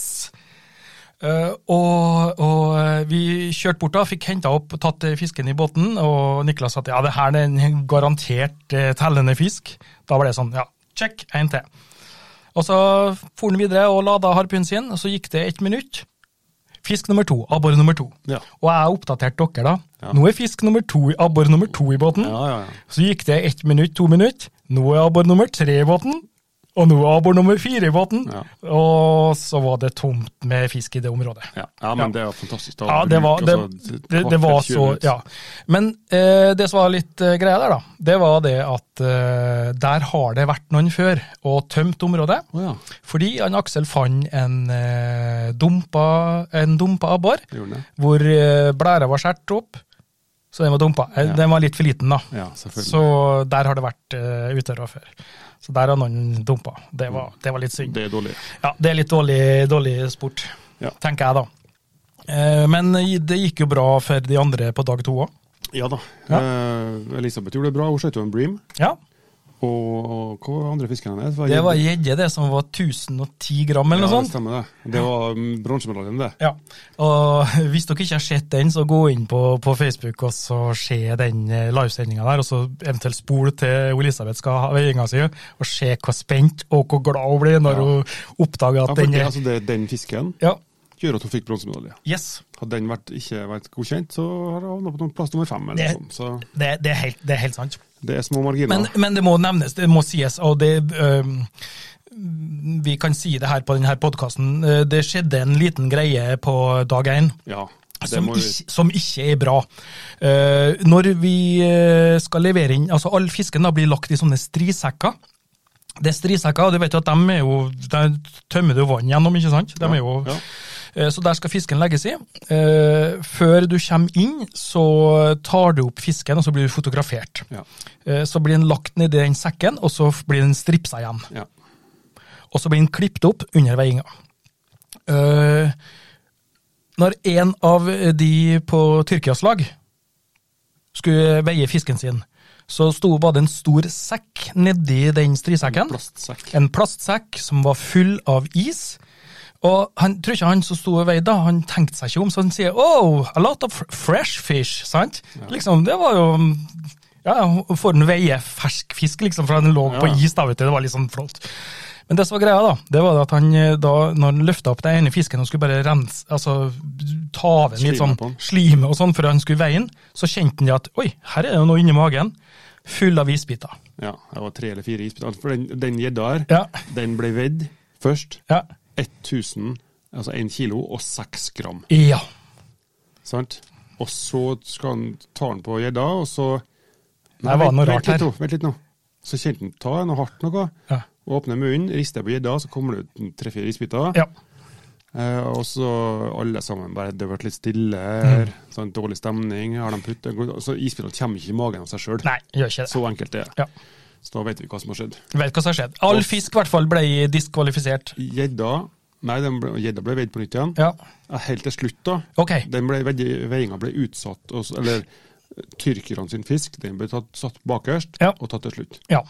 S2: Eh, og, og eh, vi kjørte bort da, fikk henta opp, tatt eh, fisken i båten, og Niklas sa at ja, det her er en garantert eh, tellende fisk. Da var det sånn, ja, check, en til. Og så for han videre og lada harpunen sin, og så gikk det ett minutt. Fisk nummer to, abbor nummer to.
S3: Ja.
S2: Og jeg oppdaterte dere, da.
S3: Ja.
S2: Nå er fisk nummer to, i- abbor nummer to i båten.
S3: Ja, ja, ja.
S2: Så gikk det ett minutt, to minutt. Nå er abbor nummer tre i båten. Og nå er abbor nummer fire i båten.
S3: Ja.
S2: Og så var det tomt med fisk i det området.
S3: Ja, ja, men det var fantastisk. Da,
S2: Ja, det
S3: bruk,
S2: var, det,
S3: altså,
S2: det, det
S3: kvarter,
S2: var
S3: 20
S2: så
S3: minutter.
S2: Ja. Men eh, det som var litt eh, greia der, da, det var det at eh, der har det vært noen før og tømt området.
S3: Å ja,
S2: Fordi han Aksel fant en eh, dumpa, en dumpa abbor,
S3: det gjorde det.
S2: hvor eh, blæra var skåret opp, så den var dumpa. Eh,
S3: Ja.
S2: Den var litt for liten, da.
S3: Ja, selvfølgelig.
S2: Så der har det vært uh, utøvere før. Så der har noen dumpa. Det var, det var litt synd.
S3: Mm. Det er dårlig.
S2: Ja, det er litt dårlig, dårlig sport,
S3: Ja.
S2: tenker jeg da. Eh, men det gikk jo bra for de andre på dag to òg.
S3: Ja da.
S2: Ja.
S3: Eh, Elisabeth gjorde det bra, hun skjøt jo en bream.
S2: Ja,
S3: Og, og hva var andre fisken hennes?
S2: det var gjedde, det som var 1010 gram eller noe
S3: ja, det
S2: sånt.
S3: stemmer det. Det var mm, bronsemedaljen, det.
S2: Ja, og Hvis dere ikke har sett den, så gå inn på, på Facebook og så se den eh, livesendinga der. Og så eventuelt spol til Elisabeth skal ha øyinga si, og se hvor spent og hvor glad hun blir når
S3: Ja.
S2: hun oppdager
S3: Ja,
S2: at
S3: for
S2: den
S3: det,
S2: er
S3: altså det, den fisken
S2: Ja,
S3: gjør at hun fikk bronsemedalje.
S2: yes.
S3: Hadde den vært, ikke vært godkjent, så har hun havnet på noen plass nummer fem. eller
S2: Det-
S3: noe sånt. sånn, Så
S2: Det, det, er helt, det er helt sant.
S3: det er små marginer.
S2: Men, men det må nevnes, det må sies, og det øhm, Vi kan si det her på denne podkasten. Det skjedde en liten greie på dag én.
S3: ja, det
S2: Som,
S3: må vi,
S2: ikke- som ikke er bra. Eh, når vi eh, skal levere inn altså All fisken da blir lagt i sånne strisekker. Det er strisekker, og du vet jo at de er jo, der tømmer du vann gjennom, ikke sant? De er jo,
S3: Ja, ja.
S2: Eh, Så der skal fisken legges i. Eh, Før du kommer inn, så tar du opp fisken, og så blir du fotografert.
S3: ja,
S2: Eh, Så blir den lagt ned i den sekken, og så blir den stripsa igjen.
S3: ja.
S2: Og så blir den klippet opp under veiinga. Eh, når en av de på Tyrkias lag skulle veie fisken sin, så sto bare en stor sekk nedi den strisekken.
S3: Plastsekk.
S2: En plastsekk som var full av is. Og han tror ikke han som sto og veide, da, han tenkte seg ikke om, så han sier oh, a lot of fresh fish, sant? Liksom, det var jo ja, For en veie fersk fisk, liksom, for han lå
S3: Ja.
S2: på is, da, vet du. Det var litt sånn flott. Men det som var greia, da, det var det at han eh, da, når han løfta opp den ene fisken og skulle bare rense, altså ta av den litt
S3: Slime
S2: sånn,
S3: på den.
S2: slime og sånn, før han skulle veie den, så kjente han det at oi, her er det noe inni magen, full av isbiter.
S3: Ja, det var tre eller fire isbiter. Altså, For den- den gjedda her,
S2: Ja,
S3: den ble vedd først.
S2: ja,
S3: 1000, altså 1 kilo og 6 gram.
S2: ja.
S3: Sant? Og så skal han ta den på gjedda, og så
S2: Nei, var det noe
S3: vent-
S2: rart
S3: vent litt
S2: her?
S3: nå, Vent litt nå. Så kjente han ta noe hardt noe.
S2: Ja.
S3: Åpner munnen, rister på gjedda, så kommer det ut tre-fire isbiter.
S2: ja.
S3: Eh, og så alle sammen bare Det har vært litt stille
S2: Mm.
S3: her. Sånn dårlig stemning. Har de putt, så isbitene kommer ikke i magen av seg sjøl.
S2: Nei, gjør ikke det.
S3: Så enkelt er det.
S2: Ja.
S3: Så da vet vi hva som har skjedd.
S2: Vet hva som har skjedd. All
S3: Og-
S2: fisk i hvert fall ble diskvalifisert.
S3: Gjedda Nei, den ble- gjedda ble veid på nytt igjen.
S2: Ja,
S3: Ja, Helt til slutt, da.
S2: ok.
S3: Den ble, veiinga ble utsatt, og så- eller tyrkerne sin fisk, den ble tatt, satt bakerst
S2: Ja.
S3: og tatt til slutt.
S2: Ja.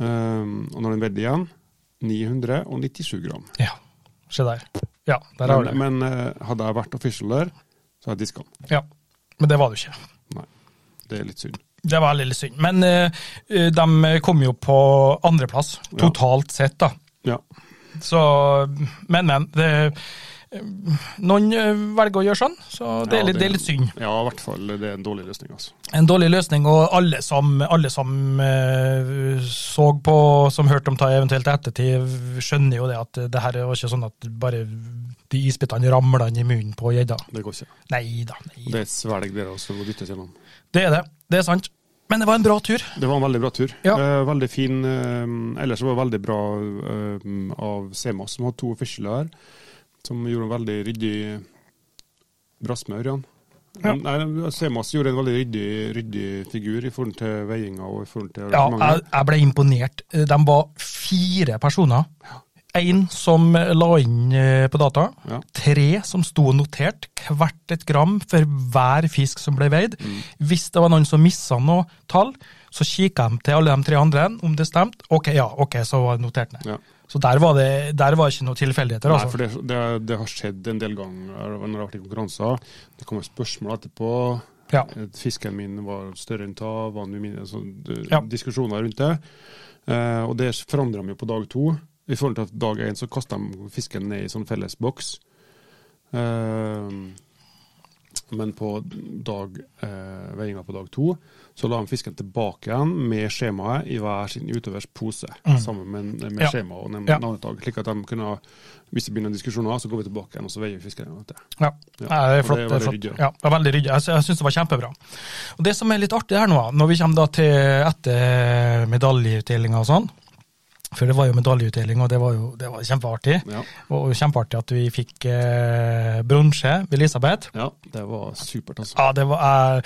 S3: Ehm, og når den veide igjen, 997 gram.
S2: ja. Se der. Ja, der har du
S3: Men,
S2: det.
S3: men eh, hadde jeg vært official der, så hadde jeg diska den.
S2: Ja. Men det var det jo ikke.
S3: Nei, det er litt synd.
S2: Det var litt synd. Men eh, eh, de kom jo på andreplass,
S3: Ja.
S2: totalt sett, da.
S3: Ja.
S2: Så Men, men. Det, eh, noen eh, velger å gjøre sånn, så det er litt, det er litt synd.
S3: Ja, i hvert fall. Det er en dårlig løsning, altså.
S2: En dårlig løsning, og alle som, alle som eh, så på, som hørte om det eventuelt i ettertid, skjønner jo det at det her var ikke sånn at bare de isbitene ramla inn i munnen på gjedda.
S3: Det går ikke.
S2: Nei da. Nei. da.
S3: Og det er et svelg der også, som må dyttes gjennom.
S2: Det er det. Det er sant. Men det var en bra tur.
S3: Det var en veldig bra tur.
S2: Ja.
S3: Eh, veldig fin. eh, ellers var det veldig bra eh, av Sema, som hadde to officialer her, som gjorde en veldig ryddig Brass med Ørjan.
S2: Ja.
S3: Nei, Semas gjorde en veldig ryddig, ryddig figur i forhold til veiinga og i forhold til
S2: Ja, jeg,
S3: arrangementet.
S2: jeg ble imponert. De var fire personer. Én som la inn eh, på data.
S3: Ja.
S2: Tre som sto notert, hvert et gram for hver fisk som ble veid.
S3: Mm.
S2: Hvis det var noen som missa noe tall, så kikka de til alle de tre andre om det stemte. Ok, ja, ok, så var det notert ned.
S3: Ja.
S2: Så der var det der var ikke noen tilfeldigheter,
S3: Nei,
S2: altså.
S3: for det, det, det har skjedd en del ganger eh, når det har vært i konkurranser. Det kommer spørsmål etterpå.
S2: Ja.
S3: Fisken min var større enn ta, var den mindre? Så, altså, det-
S2: Ja.
S3: Diskusjoner rundt det. Eh, og det forandrer de jo på dag to. I forhold til at dag én så kaster de fisken ned i sånn felles boks. Eh, men på dag, eh, veiinga på dag to så la de fisken tilbake igjen med skjemaet i hver sin utøvers pose. Sammen med, med
S2: Mm. Ja.
S3: skjema og nevn-
S2: Ja.
S3: navnetag. Slik at de kunne, ha- hvis det begynner diskusjoner, så går vi tilbake igjen og så veier vi fisken. igjen etter.
S2: Ja. Nei,
S3: Ja,
S2: det
S3: og
S2: er flott.
S3: det er
S2: Det
S3: veldig
S2: er flott.
S3: ryddig, ja.
S2: Ja, det er veldig ryddig. Jeg, sy- jeg syns det var kjempebra. Og Det som er litt artig her nå, når vi kommer da til etter medaljeutdelinga og sånn For det var jo medaljeutdeling, og det var jo det var kjempeartig.
S3: Ja.
S2: Og kjempeartig at vi fikk eh, bronse ved Elisabeth.
S3: ja, det var supert, altså.
S2: Ja, det var eh,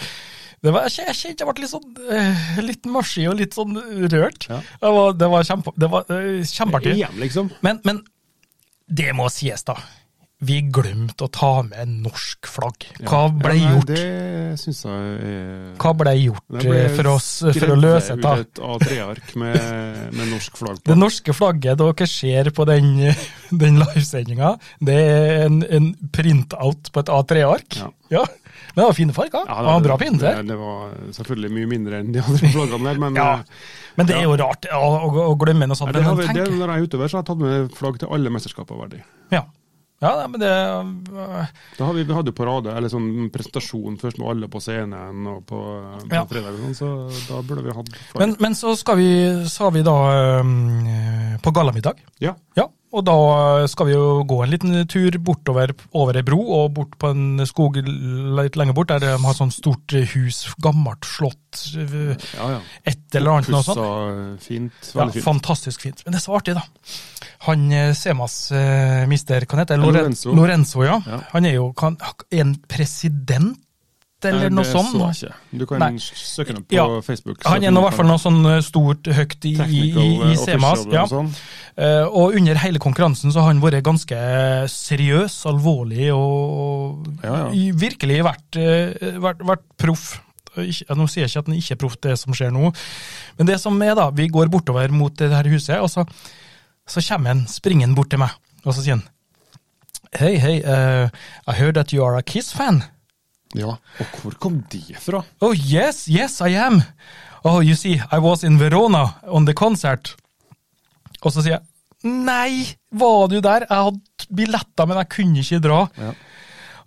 S2: det var, jeg kjen- jeg kjente jeg ble litt sånn eh, litt mushy og litt sånn rørt.
S3: Ja.
S2: Det var, det var, kjempe, det var eh, kjempeartig.
S3: Hjem, liksom.
S2: Men, men det må sies, da. Vi glemte å ta med norsk flagg. Hva ble
S3: Ja, nei,
S2: gjort?
S3: Det syns jeg er
S2: Hva ble gjort
S3: Det ble
S2: eh, for, oss, for å
S3: skrevet
S2: løse det?
S3: ut et A3-ark med, med norsk flagg
S2: Det
S3: på.
S2: norske flagget dere ser på den, den livesendinga, det er en, en printout på et A3-ark.
S3: Ja.
S2: Ja. Men det var fine farger.
S3: Ja,
S2: det var bra pynt
S3: det,
S2: der.
S3: det var selvfølgelig mye mindre enn de andre flaggene der, men
S2: Ja.
S3: eh,
S2: Men det er jo rart å, å, å glemme noe sånt.
S3: Nei, det har
S2: Men
S3: vi, det,
S2: tenk,
S3: når jeg er utøver, så har jeg tatt med flagg til alle mesterskaper. verdig.
S2: ja. ja, nei, men det øh,
S3: Da har vi, vi hadde jo parade, eller sånn presentasjon først med alle på scenen og på, på
S2: Ja.
S3: fredag, og sånn, så da burde vi hatt flagg.
S2: men, men så skal vi, så har vi da øh, på gallamiddag.
S3: ja,
S2: Ja, og da skal vi jo gå en liten tur bortover over ei bro og bort på en skog litt lenger bort, der de har sånn stort hus, gammelt slott, øh,
S3: ja, ja.
S2: et eller annet noe sånt.
S3: Pussa fint.
S2: Ja,
S3: Veldig fint.
S2: fantastisk fint. Men det er så artig, da. Han eh, Semas eh, mister, hva heter det? Loren-
S3: Lorenzo.
S2: Lorenzo, ja.
S3: Ja.
S2: Han er jo kan, er en president, eller
S3: Nei,
S2: noe
S3: det
S2: sånt?
S3: så jeg ikke. Du kan
S2: Nei.
S3: søke den opp på
S2: Ja.
S3: Facebook.
S2: Han er nå i hvert fall noe sånn eh, stort høyt i, i, i,
S3: eh,
S2: i Semas. Ja.
S3: Og sånn.
S2: Eh, Og under hele konkurransen så har han vært ganske seriøs, alvorlig og
S3: Ja, ja.
S2: i- virkelig vært, eh, vært, vært proff. Og ikke- ja, Nå sier jeg ikke at han ikke er proff, det som skjer nå. Men det som er, da, vi går bortover mot det her huset, og så, så kommer han springende bort til meg, og så sier han Hei, hei, eh, I heard that you are a Kiss-fan.
S3: Ja. Og hvor kom de fra?
S2: Oh, yes, yes, I am. Oh, you see, I was in Verona on the concert. Og så sier jeg, nei, var du der? Jeg hadde billetter, men jeg kunne ikke dra.
S3: Ja.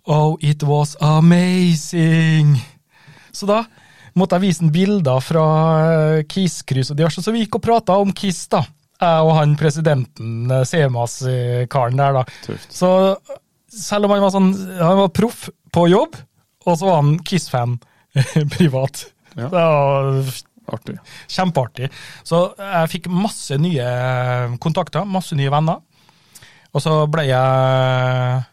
S2: Oh, it was amazing. Så da måtte jeg vise en bilder fra eh, Kiss-kryss og diverse, så vi gikk og pratet om Kiss da. Jeg og han presidenten, eh, CMAS-karen der da.
S3: Tøft.
S2: Så selv om han var, sånn, han var proff på jobb, og så var han Kiss-fan privat.
S3: Ja.
S2: Det var
S3: Artig.
S2: kjempeartig. Så jeg fikk masse nye kontakter, masse nye venner. Og så ble jeg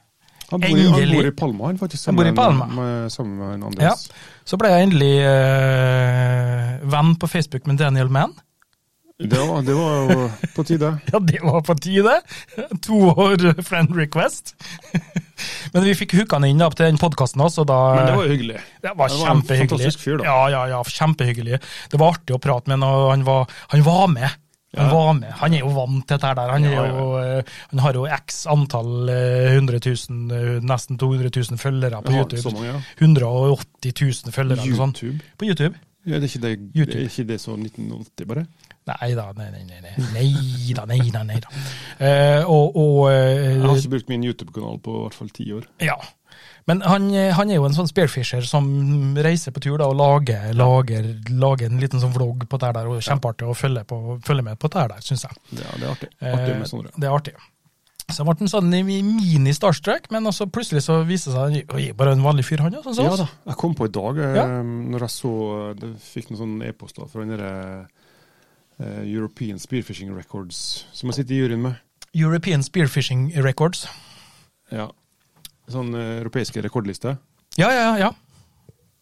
S3: Han bor, i, han
S2: Endelig.
S3: bor i Palma, han faktisk.
S2: Han bor i
S3: sammen
S2: Palma.
S3: Med, med, sammen med en
S2: Ja.
S3: Andreas.
S2: Så ble jeg endelig eh, venn på Facebook med Daniel Mann.
S3: Det, var, det var jo på tide.
S2: Ja, det var på tide! To år friend request. Men vi fikk hooka han inn da, til den podkasten også, og da
S3: Men det var jo hyggelig.
S2: det var
S3: det var en
S2: kjempehyggelig.
S3: fantastisk fyr da.
S2: Ja, ja, ja, kjempehyggelig. Det var artig å prate med han, og han var, han var med. Han
S3: Ja.
S2: var med. Han er jo vant til dette her der. Han, er
S3: Ja, ja.
S2: jo, eh, han har jo x antall eh, 100 000, eh, nesten 200 000 følgere på
S3: Jeg har
S2: YouTube.
S3: så mange, ja.
S2: 180 000 følgere eller sånn.
S3: YouTube?
S2: På YouTube.
S3: Ja, det er ikke det,
S2: YouTube.
S3: er ikke det så 1980, bare?
S2: Nei da, nei, nei, nei, nei. nei da, nei da. Nei da. Eh, og og eh,
S3: Jeg har ikke brukt min YouTube-kanal på i hvert fall ti år.
S2: Ja. Men han, eh, han er jo en sånn spearfisher som reiser på tur da, og lager, lager, lager en liten sånn vlogg på det her der. og Kjempeartig å følge, på, følge med på det her der, syns jeg.
S3: Det er, det er artig.
S2: Eh,
S3: Artig med sånne.
S2: det er artig. Så ble han sånn mini-starstruck, men også plutselig så viste det seg at han er bare en vanlig fyr, han ja, sånn som
S3: Ja
S2: oss.
S3: da. Jeg kom på i dag, eh,
S2: Ja.
S3: når jeg så eh, det fikk noen sånne e-poster fra den derre eh, European Spearfishing Records, som jeg sitter i juryen med.
S2: European Spearfishing Records.
S3: Ja. Sånn eh, europeiske rekordliste.
S2: Ja, ja, ja. ja.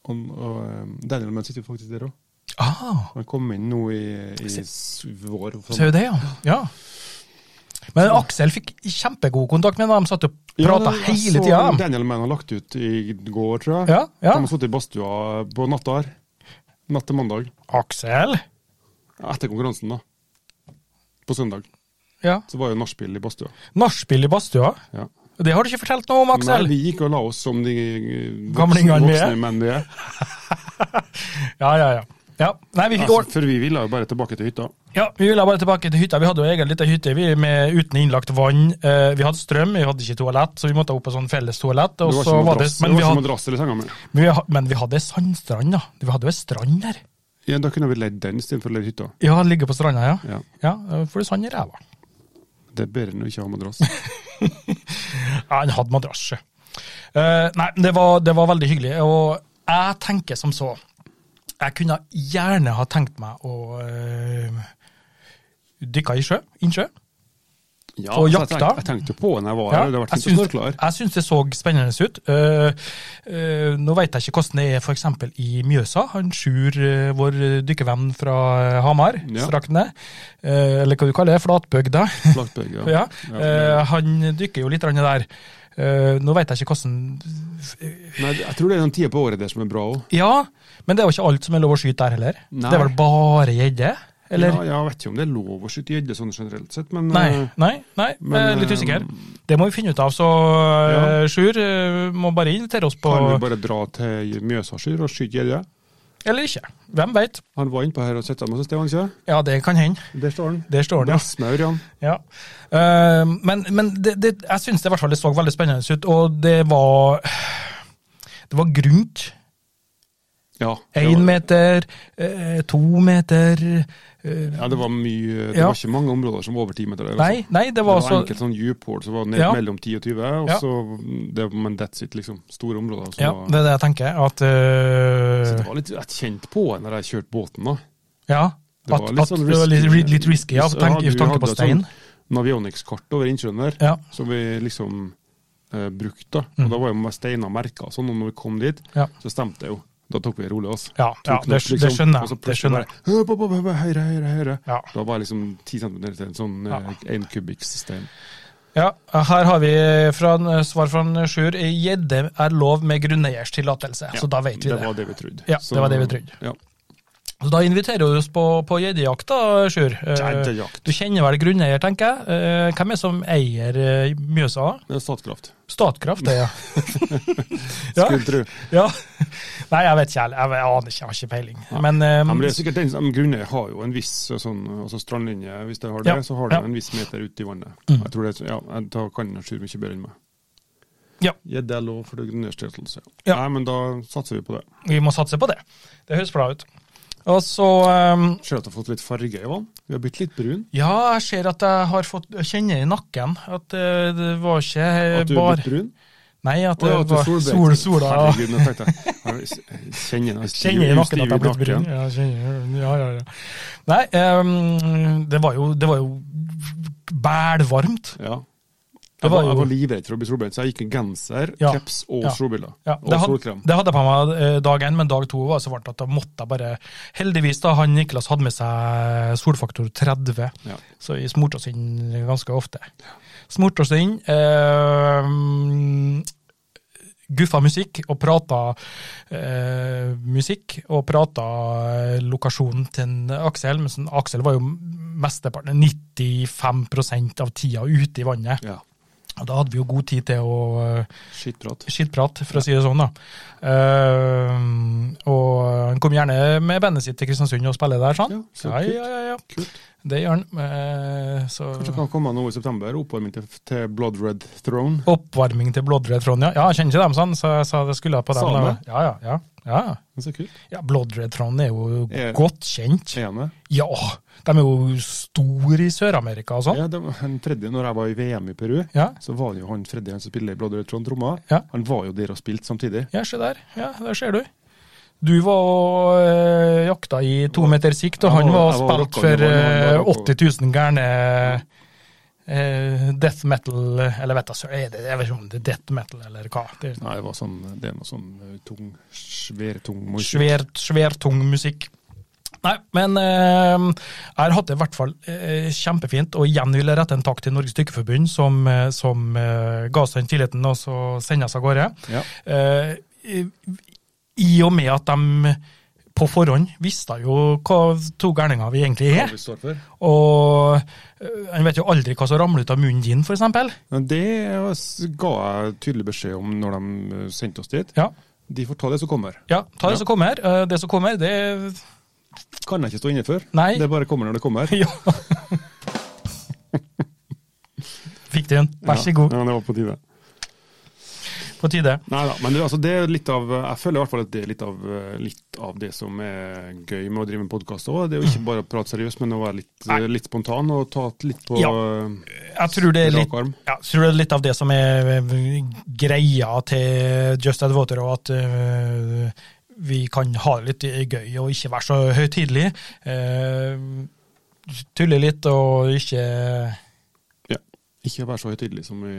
S3: Og, og eh, Daniel Mann sitter jo faktisk der òg.
S2: Ah,
S3: Han kom inn nå i, i s- vår. og
S2: så
S3: Sånn.
S2: er jo det, ja. ja. Men Aksel fikk kjempegod kontakt med ham, de satt og prata
S3: det- jeg
S2: hele
S3: så
S2: tida.
S3: Daniel Mann har lagt ut i går, tror jeg.
S2: Ja, ja.
S3: De har sittet i badstua på natta her. Natt til mandag.
S2: Aksel?
S3: Etter konkurransen, da. På søndag.
S2: Ja.
S3: Så var jo nachspiel i badstua.
S2: Nachspiel i badstua?
S3: Ja.
S2: Det har du ikke fortalt noe om, Aksel?
S3: Nei, vi gikk og la oss som de eh, voksne,
S2: Gamlingene vi er.
S3: voksne menn vi er.
S2: Ja, ja, ja. ja. Nei, vi fikk
S3: Altså,
S2: år.
S3: for vi ville jo bare tilbake til hytta.
S2: Ja, vi ville bare tilbake til hytta. Vi hadde jo egen liten hytte vi med, uten innlagt vann. Eh, vi hadde strøm, vi hadde ikke toalett, så vi måtte opp på sånn felles toalett. Og
S3: Det var
S2: så var
S3: ikke
S2: det,
S3: madrass, det
S2: men,
S3: var
S2: vi
S3: ikke
S2: hadde,
S3: madrass eller senga med.
S2: men, vi, ha- men vi hadde sandstrand, da. Vi hadde jo ei strand der.
S3: Ja, da kunne vi leid den istedenfor å leie hytta.
S2: Ja, ligge på stranda, ja.
S3: Ja.
S2: Ja, eh, Får du sand i ræva.
S3: Det er bedre enn å ikke ha madrass.
S2: Ja, han hadde madrasje. Eh, nei, det var, det var veldig hyggelig. Og jeg tenker som så. Jeg kunne gjerne ha tenkt meg å uh, dykke i sjø, innsjø.
S3: Ja,
S2: Og
S3: altså,
S2: jakta.
S3: Jeg, tenkte- jeg tenkte på når jeg var her, det har vært
S2: jeg
S3: fint å
S2: syns-
S3: snorkle her.
S2: Jeg syns det så spennende ut. Eh, eh, nå vet jeg ikke hvordan det er f.eks. i Mjøsa. Han Sjur, eh, vår dykkervenn fra eh, Hamar,
S3: Ja.
S2: straktene, eh, eller hva du kaller det, flatbygda.
S3: Flatbøy, ja.
S2: Ja.
S3: Ja.
S2: Eh, han dykker jo litt grann der. Eh, nå vet jeg ikke hvordan
S3: Nei, jeg tror det er den tida på året der som er bra òg.
S2: Ja, men det er jo ikke alt som er lov å skyte der heller.
S3: Nei.
S2: Det er vel bare gjedde? Eller?
S3: Ja, jeg vet ikke om det er lov å skyte gjedde sånn generelt sett, men
S2: Nei,
S3: eh,
S2: nei, nei,
S3: Men,
S2: jeg er litt
S3: eh,
S2: usikker. Det må vi finne ut av, så eh, Sjur eh, må bare invitere oss på
S3: kan vi bare dra til Mjøsaskyr og skyte gjedde?
S2: Eller ikke. Hvem veit?
S3: Han var innpå her og satte med seg, Stian, ikke
S2: Ja, det kan hende.
S3: Der står han.
S2: Der står det. ja.
S3: Brassmaur, ja.
S2: Ja. Eh, men men det, det, jeg syns det, i hvert fall det så veldig spennende ut, og det var Det var grunt.
S3: Ja, det
S2: Én
S3: var-
S2: meter, eh, to meter eh,
S3: Ja, det var mye Det
S2: Ja.
S3: var ikke mange områder som var over 10 meter der. altså.
S2: Nei, nei, det
S3: det
S2: var
S3: var
S2: altså
S3: enkelt sånn djuphull som var ned
S2: Ja.
S3: mellom 10 og 20, og
S2: Ja.
S3: så det, Men that's it, liksom. Store områder. Som
S2: Ja,
S3: var,
S2: det er det jeg tenker. At, eh,
S3: så det var litt Jeg kjente på det når jeg kjørte båten, da.
S2: ja,
S3: det
S2: at,
S3: var litt
S2: at
S3: sånn
S2: det var litt,
S3: risky.
S2: litt risky, ja,
S3: Så
S2: tank,
S3: hadde
S2: i
S3: vi
S2: tanke på
S3: hadde
S2: stein.
S3: sånn- Navionics-kart over innsjøen der,
S2: Ja,
S3: som vi liksom eh, brukte. da.
S2: Mm.
S3: Og da var jo steiner merka sånn, og når vi kom dit,
S2: Ja.
S3: så stemte det jo. Da tok vi det rolig, altså.
S2: ja, ja
S3: Tok
S2: det,
S3: nok,
S2: det
S3: liksom,
S2: skjønner
S3: Og
S2: jeg.
S3: så
S2: Det
S3: plutselig
S2: skjønner
S3: bare
S2: jeg.
S3: hø, på, på, på, på, Høyre, høyre, høyre.
S2: Ja.
S3: Da var jeg liksom 10 cm til en sånn
S2: Ja.
S3: eh, en kubikksstein.
S2: Ja, her har vi fra, en- svar fra en Sjur. Gjedde er lov med grunneiers tillatelse. Så da vet vi
S3: Det
S2: det.
S3: var det vi trodde.
S2: Ja,
S3: Så-
S2: det var det vi trodde.
S3: Ja.
S2: Så da inviterer du oss på, på gjeddejakt, da, Sjur. Eh,
S3: Gjeddejakt.
S2: Du kjenner vel grunneier, tenker jeg. Eh, Hvem er det som eier eh, Mjøsa?
S3: Det er Statkraft.
S2: Statkraft, det, ja. ja.
S3: Skulle tro.
S2: ja. Nei, jeg vet ikke, jeg, jeg aner ikke, jeg har ikke peiling. Men, eh,
S3: Ja, men det er sikkert den som grunneier har jo en viss eh, sånn, altså strandlinje, hvis de har
S2: Ja,
S3: det, så har de
S2: ja.
S3: en viss meter ut i vannet.
S2: Mm.
S3: Jeg tror det, er så- ja, jeg- Da kan han skjule mye bedre enn meg.
S2: Ja.
S3: det er lov for det grunneierstillatelse.
S2: Ja.
S3: Nei, men da satser vi på det.
S2: Vi må satse på det. Det høres bra ut. Og så ehm,
S3: Ser at du har fått litt farge i vann. Vi har blitt litt brun.
S2: Ja, jeg ser at jeg har fått jeg kjenner i nakken at eh, det var ikke eh,
S3: At du er
S2: bare
S3: blitt brun.
S2: Nei, at
S3: Å
S2: det
S3: ja, at du
S2: var
S3: er
S2: sol,
S3: solbrent.
S2: sola. ja.
S3: Herregud, nå tenkte jeg jeg Kjenner jeg
S2: Kjenner i nakken at jeg
S3: stiv
S2: har blitt brun. Ja, kjenner, ja, ja, ja. Nei, ehm, det var jo, det var jo bælvarmt.
S3: Ja.
S2: Det
S3: Jeg
S2: var
S3: var, jeg
S2: jo-
S3: var livredd for å bli solbrent, så jeg gikk i genser,
S2: Ja.
S3: kreps og
S2: Ja.
S3: solbriller.
S2: Ja,
S3: Og
S2: det, hadde,
S3: solkrem.
S2: det hadde jeg på meg eh, dag én, men dag to var det så varmt at da måtte jeg bare Heldigvis, da, han Niklas hadde med seg solfaktor 30,
S3: Ja.
S2: så vi smurte oss inn ganske ofte. Smurte oss inn. eh, Guffa musikk og prata eh, musikk, og prata eh, lokasjonen til en Aksel. Men sånn, Aksel var jo mesteparten, 95 av tida ute i vannet.
S3: Ja.
S2: Og da hadde vi jo god tid til å eh,
S3: Skittprat.
S2: skittprat, for å si det sånn. da. Ehm, og han kom gjerne med bandet sitt til Kristiansund og spille der, sånn.
S3: Ja, så
S2: Ja,
S3: kult.
S2: ja, ja, ja.
S3: Kult.
S2: Det gjør han. Eh, så
S3: Kanskje kan komme nå i september, oppvarming til, til Blood Red Throne.
S2: Oppvarming til Blodred Trond, ja. ja. Jeg kjenner ikke dem sånn, så jeg sa det skulle jeg på dem.
S3: Sa
S2: da.
S3: han det?
S2: Ja, ja, ja. ja.
S3: Det er så kult.
S2: ja Blodred Trond er jo
S3: Er-
S2: godt kjent.
S3: Er han det?
S2: Ja, de er jo store i Sør-Amerika og sånn.
S3: Ja, det var han Freddy, når jeg var i VM i Peru,
S2: Ja.
S3: så var det jo han Freddy han som spiller i Blood Red Throne tromma.
S2: Ja.
S3: Han var jo der og spilte samtidig.
S2: ja, se der. Ja, der ser du. Du var og eh, jakta i to meter sikt, og
S3: Jeg
S2: han var
S3: var- jeg var
S2: spilt
S3: rocka,
S2: for
S3: det var- det var
S2: eh,
S3: rocka.
S2: 80 000 gærne eh, death metal Eller vet jeg, søren, er det, jeg vet ikke om det er death metal eller hva. Det er
S3: Nei, det var sånn, det er noe sånn eh, tung, svær, tung musikk.
S2: svær, svær tung musikk. Nei, men eh, jeg har hatt det i hvert fall eh, kjempefint, og igjen vil jeg rette en takk til Norges Dykkerforbund, som, eh, som eh, ga oss den tilliten, og så sende oss av gårde.
S3: Ja.
S2: Eh, i, I og med at de på forhånd visste jo hva to gærninger vi egentlig
S3: Hva
S2: er.
S3: vi står for.
S2: Og eh, en vet jo aldri hva som ramler ut av munnen din, f.eks.
S3: Men det s- ga jeg tydelig beskjed om når de eh, sendte oss dit.
S2: Ja,
S3: De får ta det som kommer.
S2: ja, ta det
S3: Ja.
S2: som kommer. Eh, Det som kommer, det
S3: Kan jeg ikke stå inne for.
S2: Nei.
S3: Det bare kommer når det kommer.
S2: Ja. Fikk du den? Vær så god.
S3: Ja, ja, det var på tide.
S2: På tide.
S3: Neida, men det, altså, det er litt av, jeg føler i hvert fall at det er litt av, eh, litt av det som er gøy med å drive med podkast òg. Det er jo ikke bare å prate seriøst, men å være litt,
S2: Nei.
S3: litt spontan og ta et litt på eh,
S2: Ja. Jeg tror det er litt,
S3: Rak arm.
S2: ja, jeg tror det er litt av det som er eh, greia til Just Add Water, og at eh, vi kan ha det litt gøy og ikke være så høytidelig. Eh, tulle litt og ikke eh,
S3: ja. Ikke være så høytidelig som vi,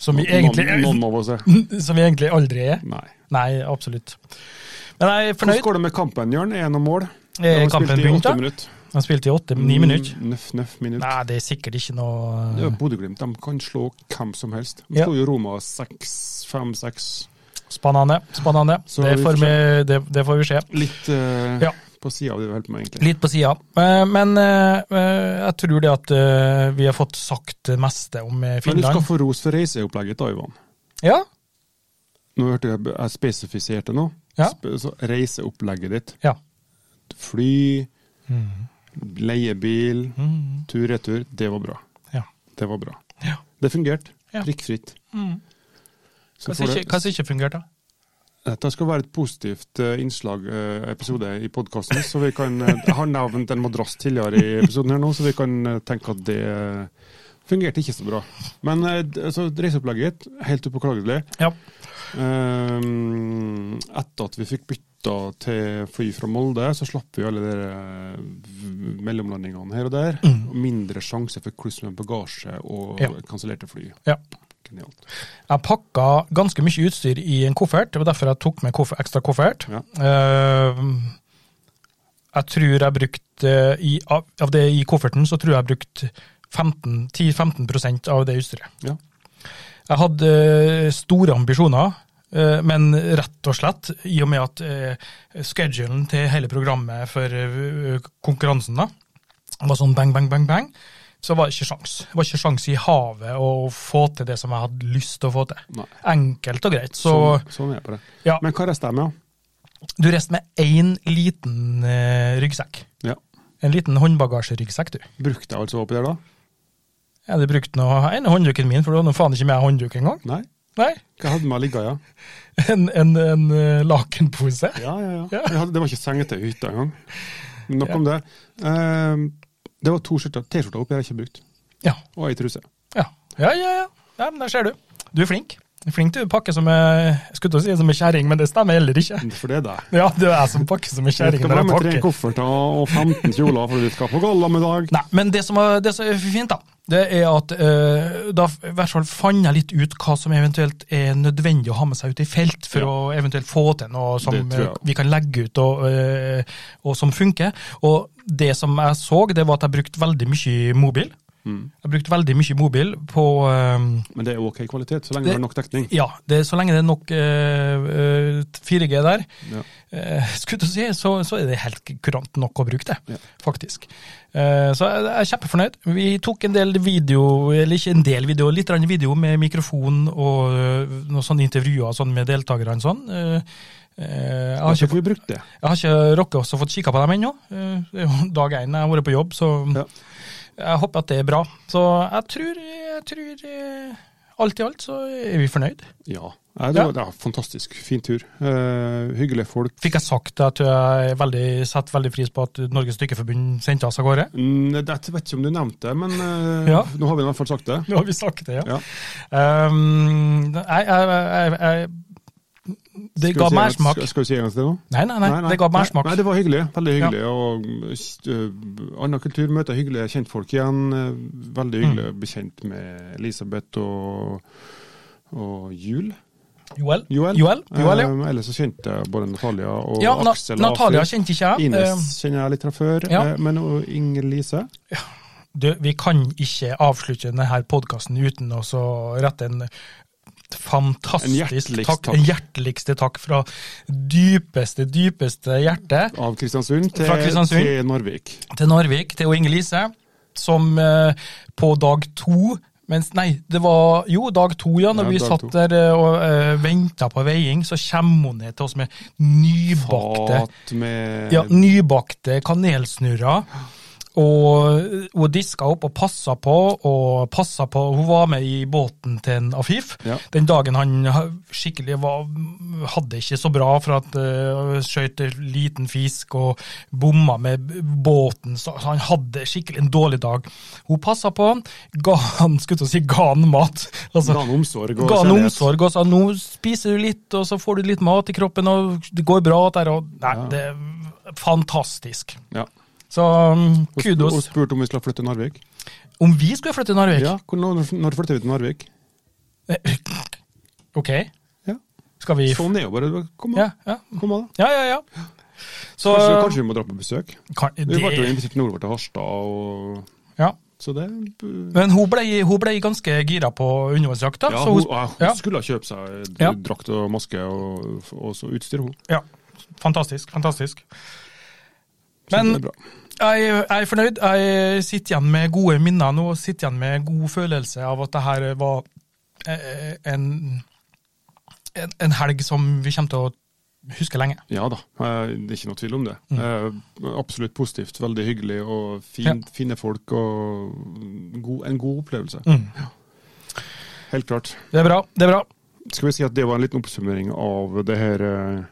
S2: Som vi
S3: noen-
S2: egentlig,
S3: noen av oss er.
S2: som vi egentlig aldri er.
S3: Nei.
S2: Nei, absolutt. Men jeg er
S3: Hvordan
S2: fornøyd.
S3: går det med kampen, Jørn? Er det noe mål?
S2: Eh,
S3: De har
S2: kampen
S3: spilt i
S2: begynt,
S3: åtte
S2: da?
S3: minutter.
S2: Han spilte i åtte-ni minutter.
S3: Mm, Nøff, nøff minutt.
S2: Nei, det er sikkert ikke
S3: Det er
S2: noe
S3: jo Bodø-Glimt. De kan slå hvem som helst. De
S2: Ja.
S3: slo jo Roma 6-5-6.
S2: Spennende. spennende.
S3: Så
S2: Det
S3: vi
S2: får
S3: får
S2: vi, det, det får vi se.
S3: Litt eh,
S2: Ja.
S3: på sida av det vi holder på med, egentlig.
S2: Litt på sida. Men eh, eh, jeg tror det at eh, vi har fått sagt det meste om eh,
S3: Men du skal
S2: Finland.
S3: få ros for reiseopplegget, da, Ivan.
S2: Ja,
S3: Nå hørte jeg jeg spesifiserte nå.
S2: Ja.
S3: Sp så reiseopplegget ditt.
S2: ja.
S3: Fly,
S2: Mm.
S3: leiebil, tur-retur. Det var bra.
S2: Ja.
S3: Det var bra.
S2: Ja.
S3: Det fungerte.
S2: Ja. Mm.
S3: Prikkfritt. Så
S2: Hva
S3: får
S2: som
S3: det-
S2: ikke, hva som ikke fungerte, da?
S3: Dette skal være et positivt eh, innslag eh, episode i podkasten. Så vi kan eh, Jeg har nevnt en madrass tidligere i episoden her nå, så vi kan eh, tenke at det eh, fungerte ikke så bra. Men eh, d- altså, reiseopplegget ditt, helt upåklagelig.
S2: Ja.
S3: Ehm, etter at vi fikk bytta til fly fra Molde, så slapp vi alle de der, eh, v- mellomlandingene her og der. Og mindre sjanse for kluss med bagasje og
S2: Mm. Ja.
S3: kansellerte fly.
S2: ja.
S3: Genialt.
S2: Jeg pakka ganske mye utstyr i en koffert, det var derfor jeg tok med koffer, ekstra koffert.
S3: Ja.
S2: Eh, jeg tror jeg brukte i, av, av det i kofferten, så tror jeg jeg brukte 15 10-15 av det utstyret.
S3: Ja.
S2: Jeg hadde eh, store ambisjoner, eh, men rett og slett, i og med at eh, schedulen til hele programmet for eh, konkurransen da, var sånn bang, bang, bang, bang, så var det ikke sjans. Det var ikke sjans i havet å få til det som jeg hadde lyst til å få til.
S3: Nei.
S2: Enkelt og greit. Så
S3: sånn, sånn er det på det.
S2: Ja.
S3: Men hva rester jeg med?
S2: du reiste med én liten eh, ryggsekk.
S3: da? Ja.
S2: En liten håndbagasjeryggsekk, du.
S3: Brukte jeg altså oppi der, da?
S2: Jeg hadde brukt noe, en håndduken min, for det var nå faen ikke med håndduk engang.
S3: Nei.
S2: Nei,
S3: Hva hadde med ligga, ja?
S2: en, en, en eh, lakenpose.
S3: Ja, ja, ja.
S2: Ja.
S3: Jeg hadde, det var ikke sengetøy i hytta engang. Men Nok om det. Ehm, det var to skjorter, T-skjorter oppi jeg har ikke brukt.
S2: Ja.
S3: Og ei truse.
S2: Ja, ja, ja. ja. ja men der ser du. Du er flink. Flink til å pakke som ei skulle til å si som ei kjerring, men det stemmer heller ikke.
S3: For det er deg.
S2: Ja, det er jeg som pakker som ei
S3: Du
S2: kjerring
S3: skal
S2: når
S3: være
S2: jeg
S3: med tre
S2: pakker.
S3: kofferter og 15 kjoler fordi du skal på gallamiddag.
S2: Nei, men det som, er, det som er fint, da, det er at eh, da i hvert fall fant jeg litt ut hva som eventuelt er nødvendig å ha med seg ut i felt for
S3: Ja.
S2: å eventuelt få til noe som
S3: Det tror jeg.
S2: eh, vi kan legge ut og, eh, og som funker. Og det som jeg så, det var at jeg brukte veldig mye mobil.
S3: Mm.
S2: Jeg brukte veldig mye mobil på eh,
S3: Men det er ok kvalitet, så lenge det
S2: Det-
S3: er nok dekning.
S2: Ja, det, så lenge det er nok eh, eh, 4G der,
S3: Ja.
S2: eh, skulle du si, så, så er det helt kurant nok å bruke det,
S3: Ja.
S2: faktisk. Eh, så jeg, jeg er kjempefornøyd. Vi tok en del video, eller ikke en del video, litt grann video med mikrofon og eh, noen sånne intervjuer og sånn med deltakerne og sånn. Eh, eh, jeg, har
S3: Hvorfor
S2: ikke,
S3: får vi brukt det?
S2: jeg har ikke rukket også fått kikka på dem ennå. Eh, det er jo dag én jeg har vært på jobb, så
S3: Ja.
S2: jeg håper at det er bra. Så jeg tror, jeg tror eh, alt i alt så er vi fornøyd.
S3: Ja. Nei, det
S2: Ja.
S3: var det var fantastisk. Fin tur. Eh, hyggelige folk.
S2: Fikk jeg sagt at jeg er veldig, setter veldig pris på at Norges Dykkerforbund sendte oss av gårde?
S3: Mm, det- Jeg vet ikke om du nevnte det, men eh,
S2: Ja.
S3: nå har vi i hvert fall sagt det.
S2: Nå har vi sagt det, ja.
S3: Ja.
S2: Um, nei, jeg, jeg, jeg, det
S3: Skal
S2: ga
S3: vi si en-
S2: mersmak.
S3: Skal, skal vi si en gang til det nå?
S2: Nei, nei, nei, det ga mersmak.
S3: Nei, nei, det var hyggelig. Veldig hyggelig. Og uh, annen kultur møter hyggelige kjentfolk igjen. eh,
S2: Mm.
S3: Veldig hyggelig å bli kjent med Elisabeth og, og Jul.
S2: Joel?
S3: Joel.
S2: Joel, Joel ja.
S3: Eh, ellers så kjente jeg både Natalia og
S2: ja Na
S3: Aksel.
S2: Natalia
S3: Afri.
S2: kjente ikke jeg. Eh, Ehm,
S3: Ines kjenner jeg litt fra før.
S2: ja.
S3: eh, Men og Inger Lise
S2: Um, Du, vi kan ikke avslutte denne podkasten uten å så rette en
S3: En
S2: fantastisk
S3: hjerteligst
S2: takk.
S3: takk.
S2: En hjerteligste takk fra dypeste, dypeste hjerte.
S3: av Kristiansund til,
S2: Fra Kristiansund.
S3: til Narvik.
S2: til Narvik, til Inge Lise, som eh, på dag to mens, Nei, det var jo dag to, ja. Når
S3: Ja,
S2: vi
S3: dag
S2: satt
S3: to.
S2: der eh, og uh, venta på veiing, så kommer hun ned til oss med nybakte
S3: Fat med
S2: ja, nybakte kanelsnurrer. Og hun diska opp og passa på, og passa på Hun var med i båten til en Afif.
S3: Ja.
S2: Den dagen han ha- skikkelig var, hadde det ikke så bra for at uh, skjøt en liten fisk og bomma med b- båten, så så han hadde skikkelig en dårlig dag. Hun passa på han, ga han, skulle til å si, ga han mat. Altså,
S3: Ga han omsorg og
S2: ga han
S3: kjærlighet.
S2: omsorg og sa nå spiser du litt, og så får du litt mat i kroppen, og det går bra. Der, og, nei,
S3: Ja.
S2: det er fantastisk.
S3: Ja.
S2: Så um,
S3: Og sp- Og
S2: kudos.
S3: spurte om vi skulle flytte til Narvik.
S2: Om vi skulle flytte til Narvik? Eh,
S3: Ja, hvor- når, når flytter vi til Narvik?
S2: Ok,
S3: Ja.
S2: skal vi
S3: Sånn er jo bare Kom
S2: Ja,
S3: an,
S2: ja,
S3: kom an. da.
S2: ja. ja, ja. Så
S3: Kanskje, kanskje vi må dra på besøk.
S2: kan,
S3: Vi ble jo
S2: det,
S3: invitert nordover til Harstad, og
S2: ja.
S3: så det
S2: Men hun ble, hun ble ganske gira på undervannsjakta.
S3: Ja,
S2: så
S3: hun,
S2: hun,
S3: ja, hun
S2: ja,
S3: skulle kjøpe seg eh,
S2: Ja.
S3: drakt og maske og, og så utstyr, hun.
S2: ja. Fantastisk. Fantastisk.
S3: Så
S2: Men-
S3: det er bra.
S2: Jeg, jeg er fornøyd. Jeg sitter igjen med gode minner nå, og sitter igjen med god følelse av at det her var eh, en, en, en helg som vi kommer til å huske lenge.
S3: Ja da, eh, det er ikke noe tvil om det.
S2: Mm.
S3: Eh, Absolutt positivt, veldig hyggelig og fin,
S2: Ja.
S3: fine folk og god, en god opplevelse.
S2: Mm.
S3: Helt klart.
S2: Det er bra. det er bra.
S3: Skal vi si at det var en liten oppsummering av det her eh,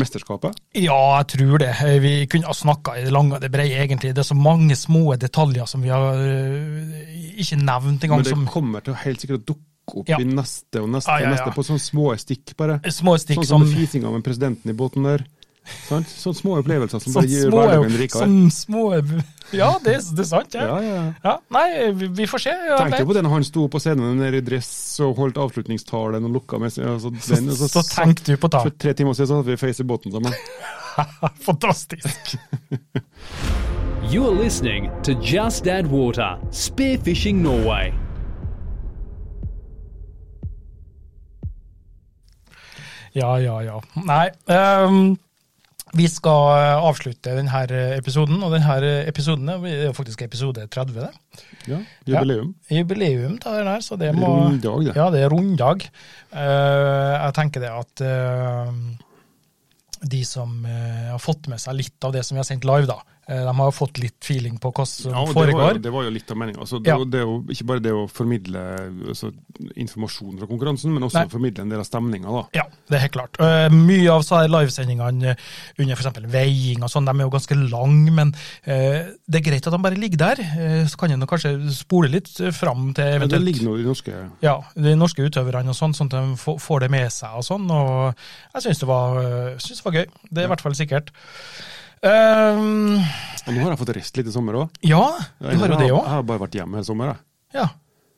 S3: mesterskapet?
S2: Ja, jeg tror det. Vi kunne ha snakka i det lange og det brede, egentlig. Det er så mange små detaljer som vi har eh, ikke nevnt engang.
S3: Men det
S2: som
S3: kommer til å helt sikkert å dukke opp
S2: Ja.
S3: i neste og neste
S2: Ja, ja,
S3: og
S2: ja.
S3: neste, på sånne små stikk, bare.
S2: Små stikk
S3: Sånn som
S2: som
S3: fisinga med presidenten i båten der. Sant? Sånne små opplevelser som
S2: Sånn
S3: bare gjør
S2: små,
S3: hverdagen rikere.
S2: sånn små Ja, det, det er sant,
S3: Ja,
S2: ja.
S3: ja.
S2: ja. Nei, vi, vi får se. Jeg
S3: Tenkte
S2: vet.
S3: jo på det når han sto på scenen der i dress og holdt avslutningstalen og lukka med seg altså, den,
S2: Så,
S3: altså,
S2: så tenkte du på det.
S3: For tre timer siden så hadde vi face i båten sammen.
S2: Fantastisk.
S1: You're listening to Just Add Water, Spearfishing Norway.
S2: Ja, ja, ja. Nei, ehm, vi skal eh, avslutte denne episoden, og denne episoden er jo faktisk episode 30. det.
S3: Ja, Jubileum.
S2: Jubileum til den her, så det må
S3: Runddag, det.
S2: Ja, det er runddag. Eh, jeg tenker det at ehm, eh, de som eh, har fått med seg litt av det som vi har sendt live, da, Eh, De har fått litt feeling på hva som
S3: Ja, og det, var jo,
S2: foregår.
S3: det var jo litt av meninga. Altså, det,
S2: Ja.
S3: er jo- det er jo ikke bare det å formidle altså, informasjon fra konkurransen, men også
S2: Nei.
S3: formidle en del av stemninga. da.
S2: Ja, det er helt klart. Eh, mye av så her livesendingene eh, under f.eks. veiing og sånn, de er jo ganske lange, men eh, det er greit at de bare ligger der. Eh, så kan en jo kanskje spole litt eh, fram til
S3: Men det
S2: eventuelt
S3: ligger noe i de norske
S2: ja, de norske utøverne og sånn, sånn at de få- får det med seg og sånn. Og jeg syns det, var- jeg synes det var gøy. Det er i hvert fall sikkert. Ehm,
S3: Og nå har jeg fått reist litt i sommer òg.
S2: ja, du har jo det
S3: Jeg
S2: òg.
S3: har bare vært hjemme hele sommer. Jeg.
S2: Ja.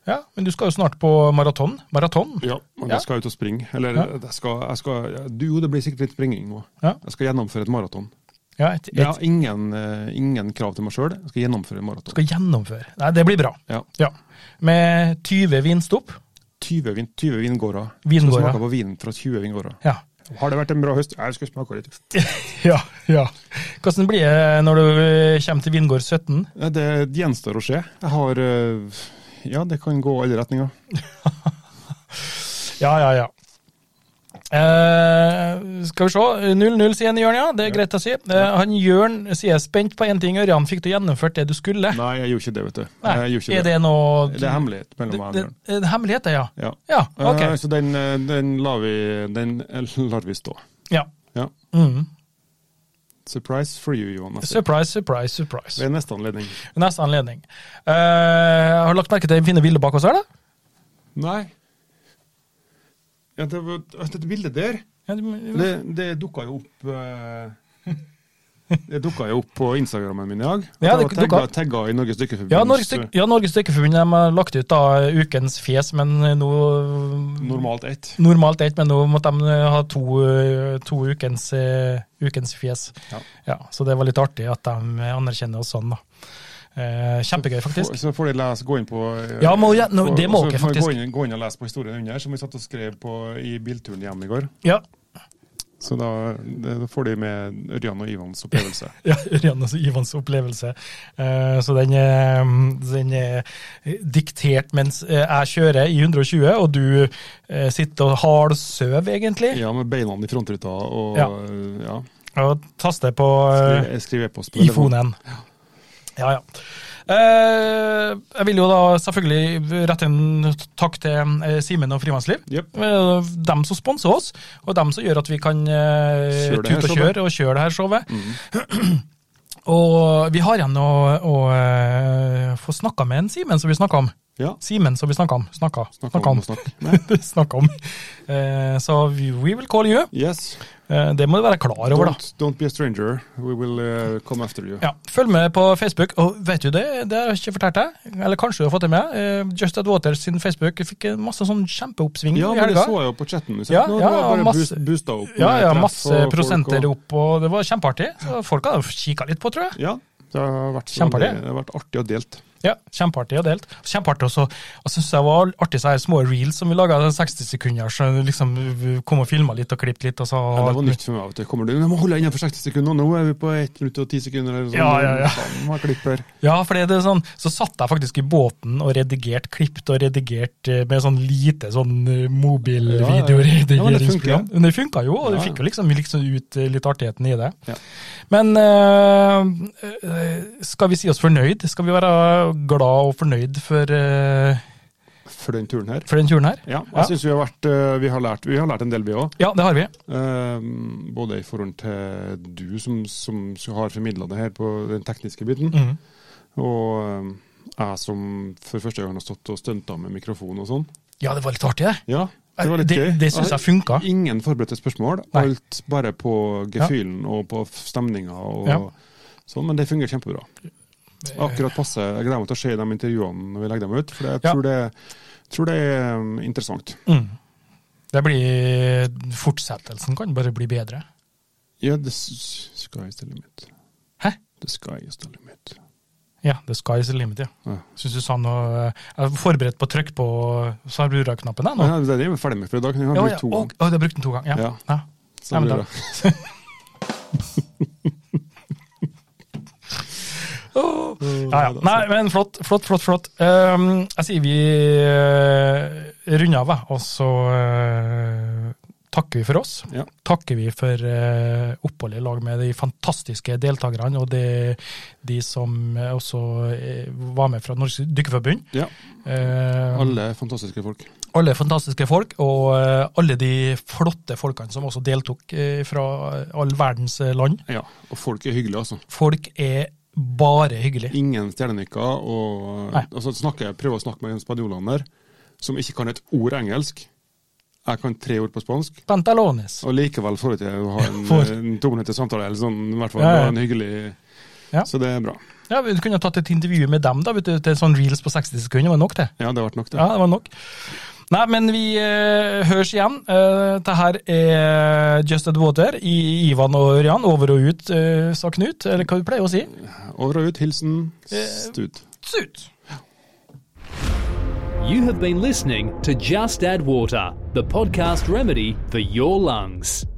S2: ja, men du skal jo snart på maraton. Maraton?
S3: Ja, men
S2: Ja.
S3: jeg skal ut og springe. Eller
S2: Ja.
S3: jeg skal, jeg skal, du, jo, det blir sikkert litt springing òg.
S2: Ja.
S3: Jeg skal gjennomføre et maraton.
S2: Ja, et,
S3: Jeg har
S2: et,
S3: ingen, eh, ingen krav til meg sjøl, jeg skal gjennomføre en maraton.
S2: skal gjennomføre. Nei, det blir bra.
S3: Ja.
S2: Ja. Med 20 vinstopp.
S3: 20, vin, 20 vingårder.
S2: Vingårder.
S3: Skal smake på vinen fra 20 vingårder.
S2: Ja.
S3: Har det vært en bra høst? Jeg skal smake litt.
S2: ja, ja. Hvordan blir det når du eh, kommer til Vingård 17?
S3: Nei, Det gjenstår å se. Jeg har eh, Ja, det kan gå alle retninger.
S2: Ja, ja, ja. Eh, skal vi se. 0-0 sier en Jørn, ja. Det er greit å si. Eh, han Jørn sier jeg er spent på én ting. Ørjan, fikk du gjennomført det du skulle?
S3: Nei, jeg gjorde ikke det, vet du.
S2: Nei,
S3: Jeg gjorde ikke
S2: er det noe
S3: Det er hemmelighet mellom meg og
S2: Det,
S3: Bjørn.
S2: det, det hemmelighet, ja.
S3: Ja.
S2: Ja, ok.
S3: Eh, Så den, eh, den, lar vi, den eh, lar vi stå.
S2: Ja.
S3: Ja.
S2: Mm.
S3: Surprise for you, Johannes.
S2: Surprise, surprise, surprise.
S3: Ved neste anledning.
S2: Neste anledning. Eh, har du lagt merke til den fine bildet bak oss her, da?
S3: Nei. Ja, det var, dette bildet der,
S2: Ja, du-
S3: det, det dukka jo opp eh, Det dukka jo opp på Instagrammen min i dag.
S2: Ja, det
S3: At jeg var
S2: dukka
S3: tagga- Tagga i Norges Dykkerforbund.
S2: Ja, Norges, Dyk- ja, Norges Dykkerforbund de har lagt ut da eh, ukens fjes, men eh, nå
S3: Normalt ett.
S2: Normalt ett, men nå måtte de eh, ha to, to ukens, eh, ukens fjes.
S3: Ja.
S2: Så det var litt artig at de anerkjenner oss sånn, da. Eh, kjempegøy, faktisk.
S3: Så får de lese, gå inn på eh,
S2: Ja, må, ja, nå,
S3: på-
S2: det må
S3: så
S2: dere
S3: får de
S2: faktisk.
S3: Gå inn, gå inn og lese på historien under, som vi satt og skrev på i bilturen hjem i går.
S2: Ja,
S3: Så da, det, da får de med Ørjan og Ivans opplevelse.
S2: ja Ørjan og Ivans opplevelse. Eh, så den er, den er diktert mens eh, jeg kjører i 120, og du eh, sitter og halvsøv, egentlig,
S3: Ja, med beina i frontruta og
S2: Ja.
S3: ja.
S2: og taster på eh,
S3: Skriv- Skriv e-post på
S2: I fonen.
S3: telefonen.
S2: Ja, ja. Eh, jeg vil jo da selvfølgelig rette en takk til eh, Simen og Frimannsliv.
S3: Jep.
S2: Eh, dem som sponser oss, og dem som gjør at vi kan eh,
S3: Kjøre det her
S2: tute og
S3: showet.
S2: kjøre
S3: Mm.
S2: og kjøre det her showet. Og vi har igjen å, å eh, få snakka med en Simen som vi snakka om.
S3: Ja.
S2: Simen som vi snakka om. Snakka.
S3: Snakka
S2: Snakka
S3: om
S2: om.
S3: å snakke. Nei.
S2: Snakka om. Eh, så we we will call you.
S3: Yes.
S2: Eh, det må du være klar over, da.
S3: Don't, don't be a stranger. We will eh, come after you.
S2: Ja, Følg med på Facebook. Og vet du det, det har jeg ikke fortalt deg, eller kanskje du har fått det med. eh, Just At Waters sin Facebook fikk en masse sånn kjempeoppsving
S3: Ja,
S2: i
S3: men det
S2: helga.
S3: så jeg jo på chatten.
S2: Ja,
S3: Nå,
S2: ja,
S3: det var bare
S2: masse-
S3: boost- boosta opp.
S2: Ja,
S3: med
S2: ja,
S3: treff
S2: masse
S3: og folk
S2: prosenter
S3: og-
S2: opp, og det var kjempeartig. Så folk har kikka litt på, tror jeg.
S3: Ja, det har vært,
S2: Kjempeartig.
S3: veldig- det har vært artig og delt.
S2: Ja, Kjempeartig og delt. Kjempeartig også, og syns jeg var artig så her små reels som vi laga 60 sekunder, så liksom vi kom og filma litt og klippet litt. Og så,
S3: Ja, det var nytt for meg. vet du. Kommer du, du må holde deg innenfor 60 sekunder, nå er vi på 1 minutt og 10 sekunder. Eller sånn.
S2: Ja, ja, ja.
S3: Faen, må jeg klippe her.
S2: Ja, for det er det sånn, så satt jeg faktisk i båten og redigert, klippt og redigert eh, med sånn lite sånn eh,
S3: Ja, men det funker, ja.
S2: mobilvideoredigeringsprogram. Men det funka jo, og
S3: Ja,
S2: det
S3: ja.
S2: fikk jo liksom, liksom ut eh, litt artigheten i det.
S3: Ja.
S2: Men eh, eh, skal vi si oss fornøyd? Skal vi være glad og fornøyd for, eh,
S3: For den turen her.
S2: for den turen her?
S3: Ja, jeg
S2: Ja.
S3: synes vi har vært, eh, vi har lært, vi har lært en del vi også.
S2: Ja, det har vi.
S3: Eh, både i forhold til du som, som har formidlet det her på den tekniske biten,
S2: Mhm.
S3: og eh, jeg som for første gang har stått og stunta med mikrofon og sånn.
S2: Ja, det var litt artig, det.
S3: Ja, det var litt
S2: det,
S3: gøy.
S2: det syns jeg funka.
S3: Ingen forberedte spørsmål,
S2: Nei.
S3: alt bare på gefühlen og på stemninga og
S2: Ja.
S3: sånn, men det fungerer kjempebra.
S2: Eh,
S3: Akkurat passe. Jeg gleder meg til å se de intervjuene når vi legger dem ut, for jeg
S2: Ja.
S3: tror, det, tror det er um, interessant.
S2: Mm. Det blir, fortsettelsen kan bare bli bedre.
S3: Ja, the s- sky is the limit.
S2: Hæ?
S3: The sky is the limit.
S2: Ja, the sky is the limit, ja.
S3: Ja.
S2: Syns du sa noe eh, Jeg er forberedt på å trykke på svarbrura-knappen. jeg, nå.
S3: Ja, det er det vi er ferdig med for i dag. Vi har
S2: Ja,
S3: brukt
S2: ja.
S3: to
S2: Å,
S3: ganger.
S2: å, du har brukt den to ganger. Ja.
S3: Ja.
S2: ja.
S3: Så
S2: Nei, men
S3: blir
S2: da-
S3: det-
S2: Åh. ja, ja. Nei, men flott, flott, flott. flott. Ehm, jeg sier vi eh, runder av, jeg, og så eh, takker vi for oss.
S3: Ja.
S2: Takker vi for eh, oppholdet i lag med de fantastiske deltakerne og de, de som eh, også eh, var med fra Norges Dykkerforbund.
S3: Ja.
S2: Eh,
S3: Alle fantastiske folk.
S2: alle fantastiske folk, og eh, alle de flotte folkene som også deltok eh, fra all verdens eh, land.
S3: Ja, og folk er hyggelige, altså.
S2: Folk er bare hyggelige.
S3: Ingen stjernenykker. Og
S2: Nei.
S3: altså, snakker, prøver å snakke med spanjolene der, som ikke kan et ord engelsk. Jeg kan tre ord på spansk.
S2: Pantalones.
S3: Og likevel får jeg til å ha en, eh,
S2: For-
S3: en to minutter samtale, eller sånn, i hvert fall.
S2: Ja, ja.
S3: og En hyggelig
S2: Ja.
S3: Så det er bra.
S2: Ja, Vi kunne ha tatt et intervju med dem, da, vet du, til sånn reels på 60 sekunder. var det nok det.
S3: Ja, det har vært nok, det.
S2: Ja, det var nok. Nei, men vi eh, høres igjen. Eh, Dette her er Just Ad Water i Ivan og Ørjan. Over og ut, eh, sa Knut. Eller hva du pleier å si.
S3: Over og ut. Hilsen
S2: Eh,
S3: Stud.
S2: Tut!
S1: You have been listening to Just Add Water, the podcast remedy for your lungs.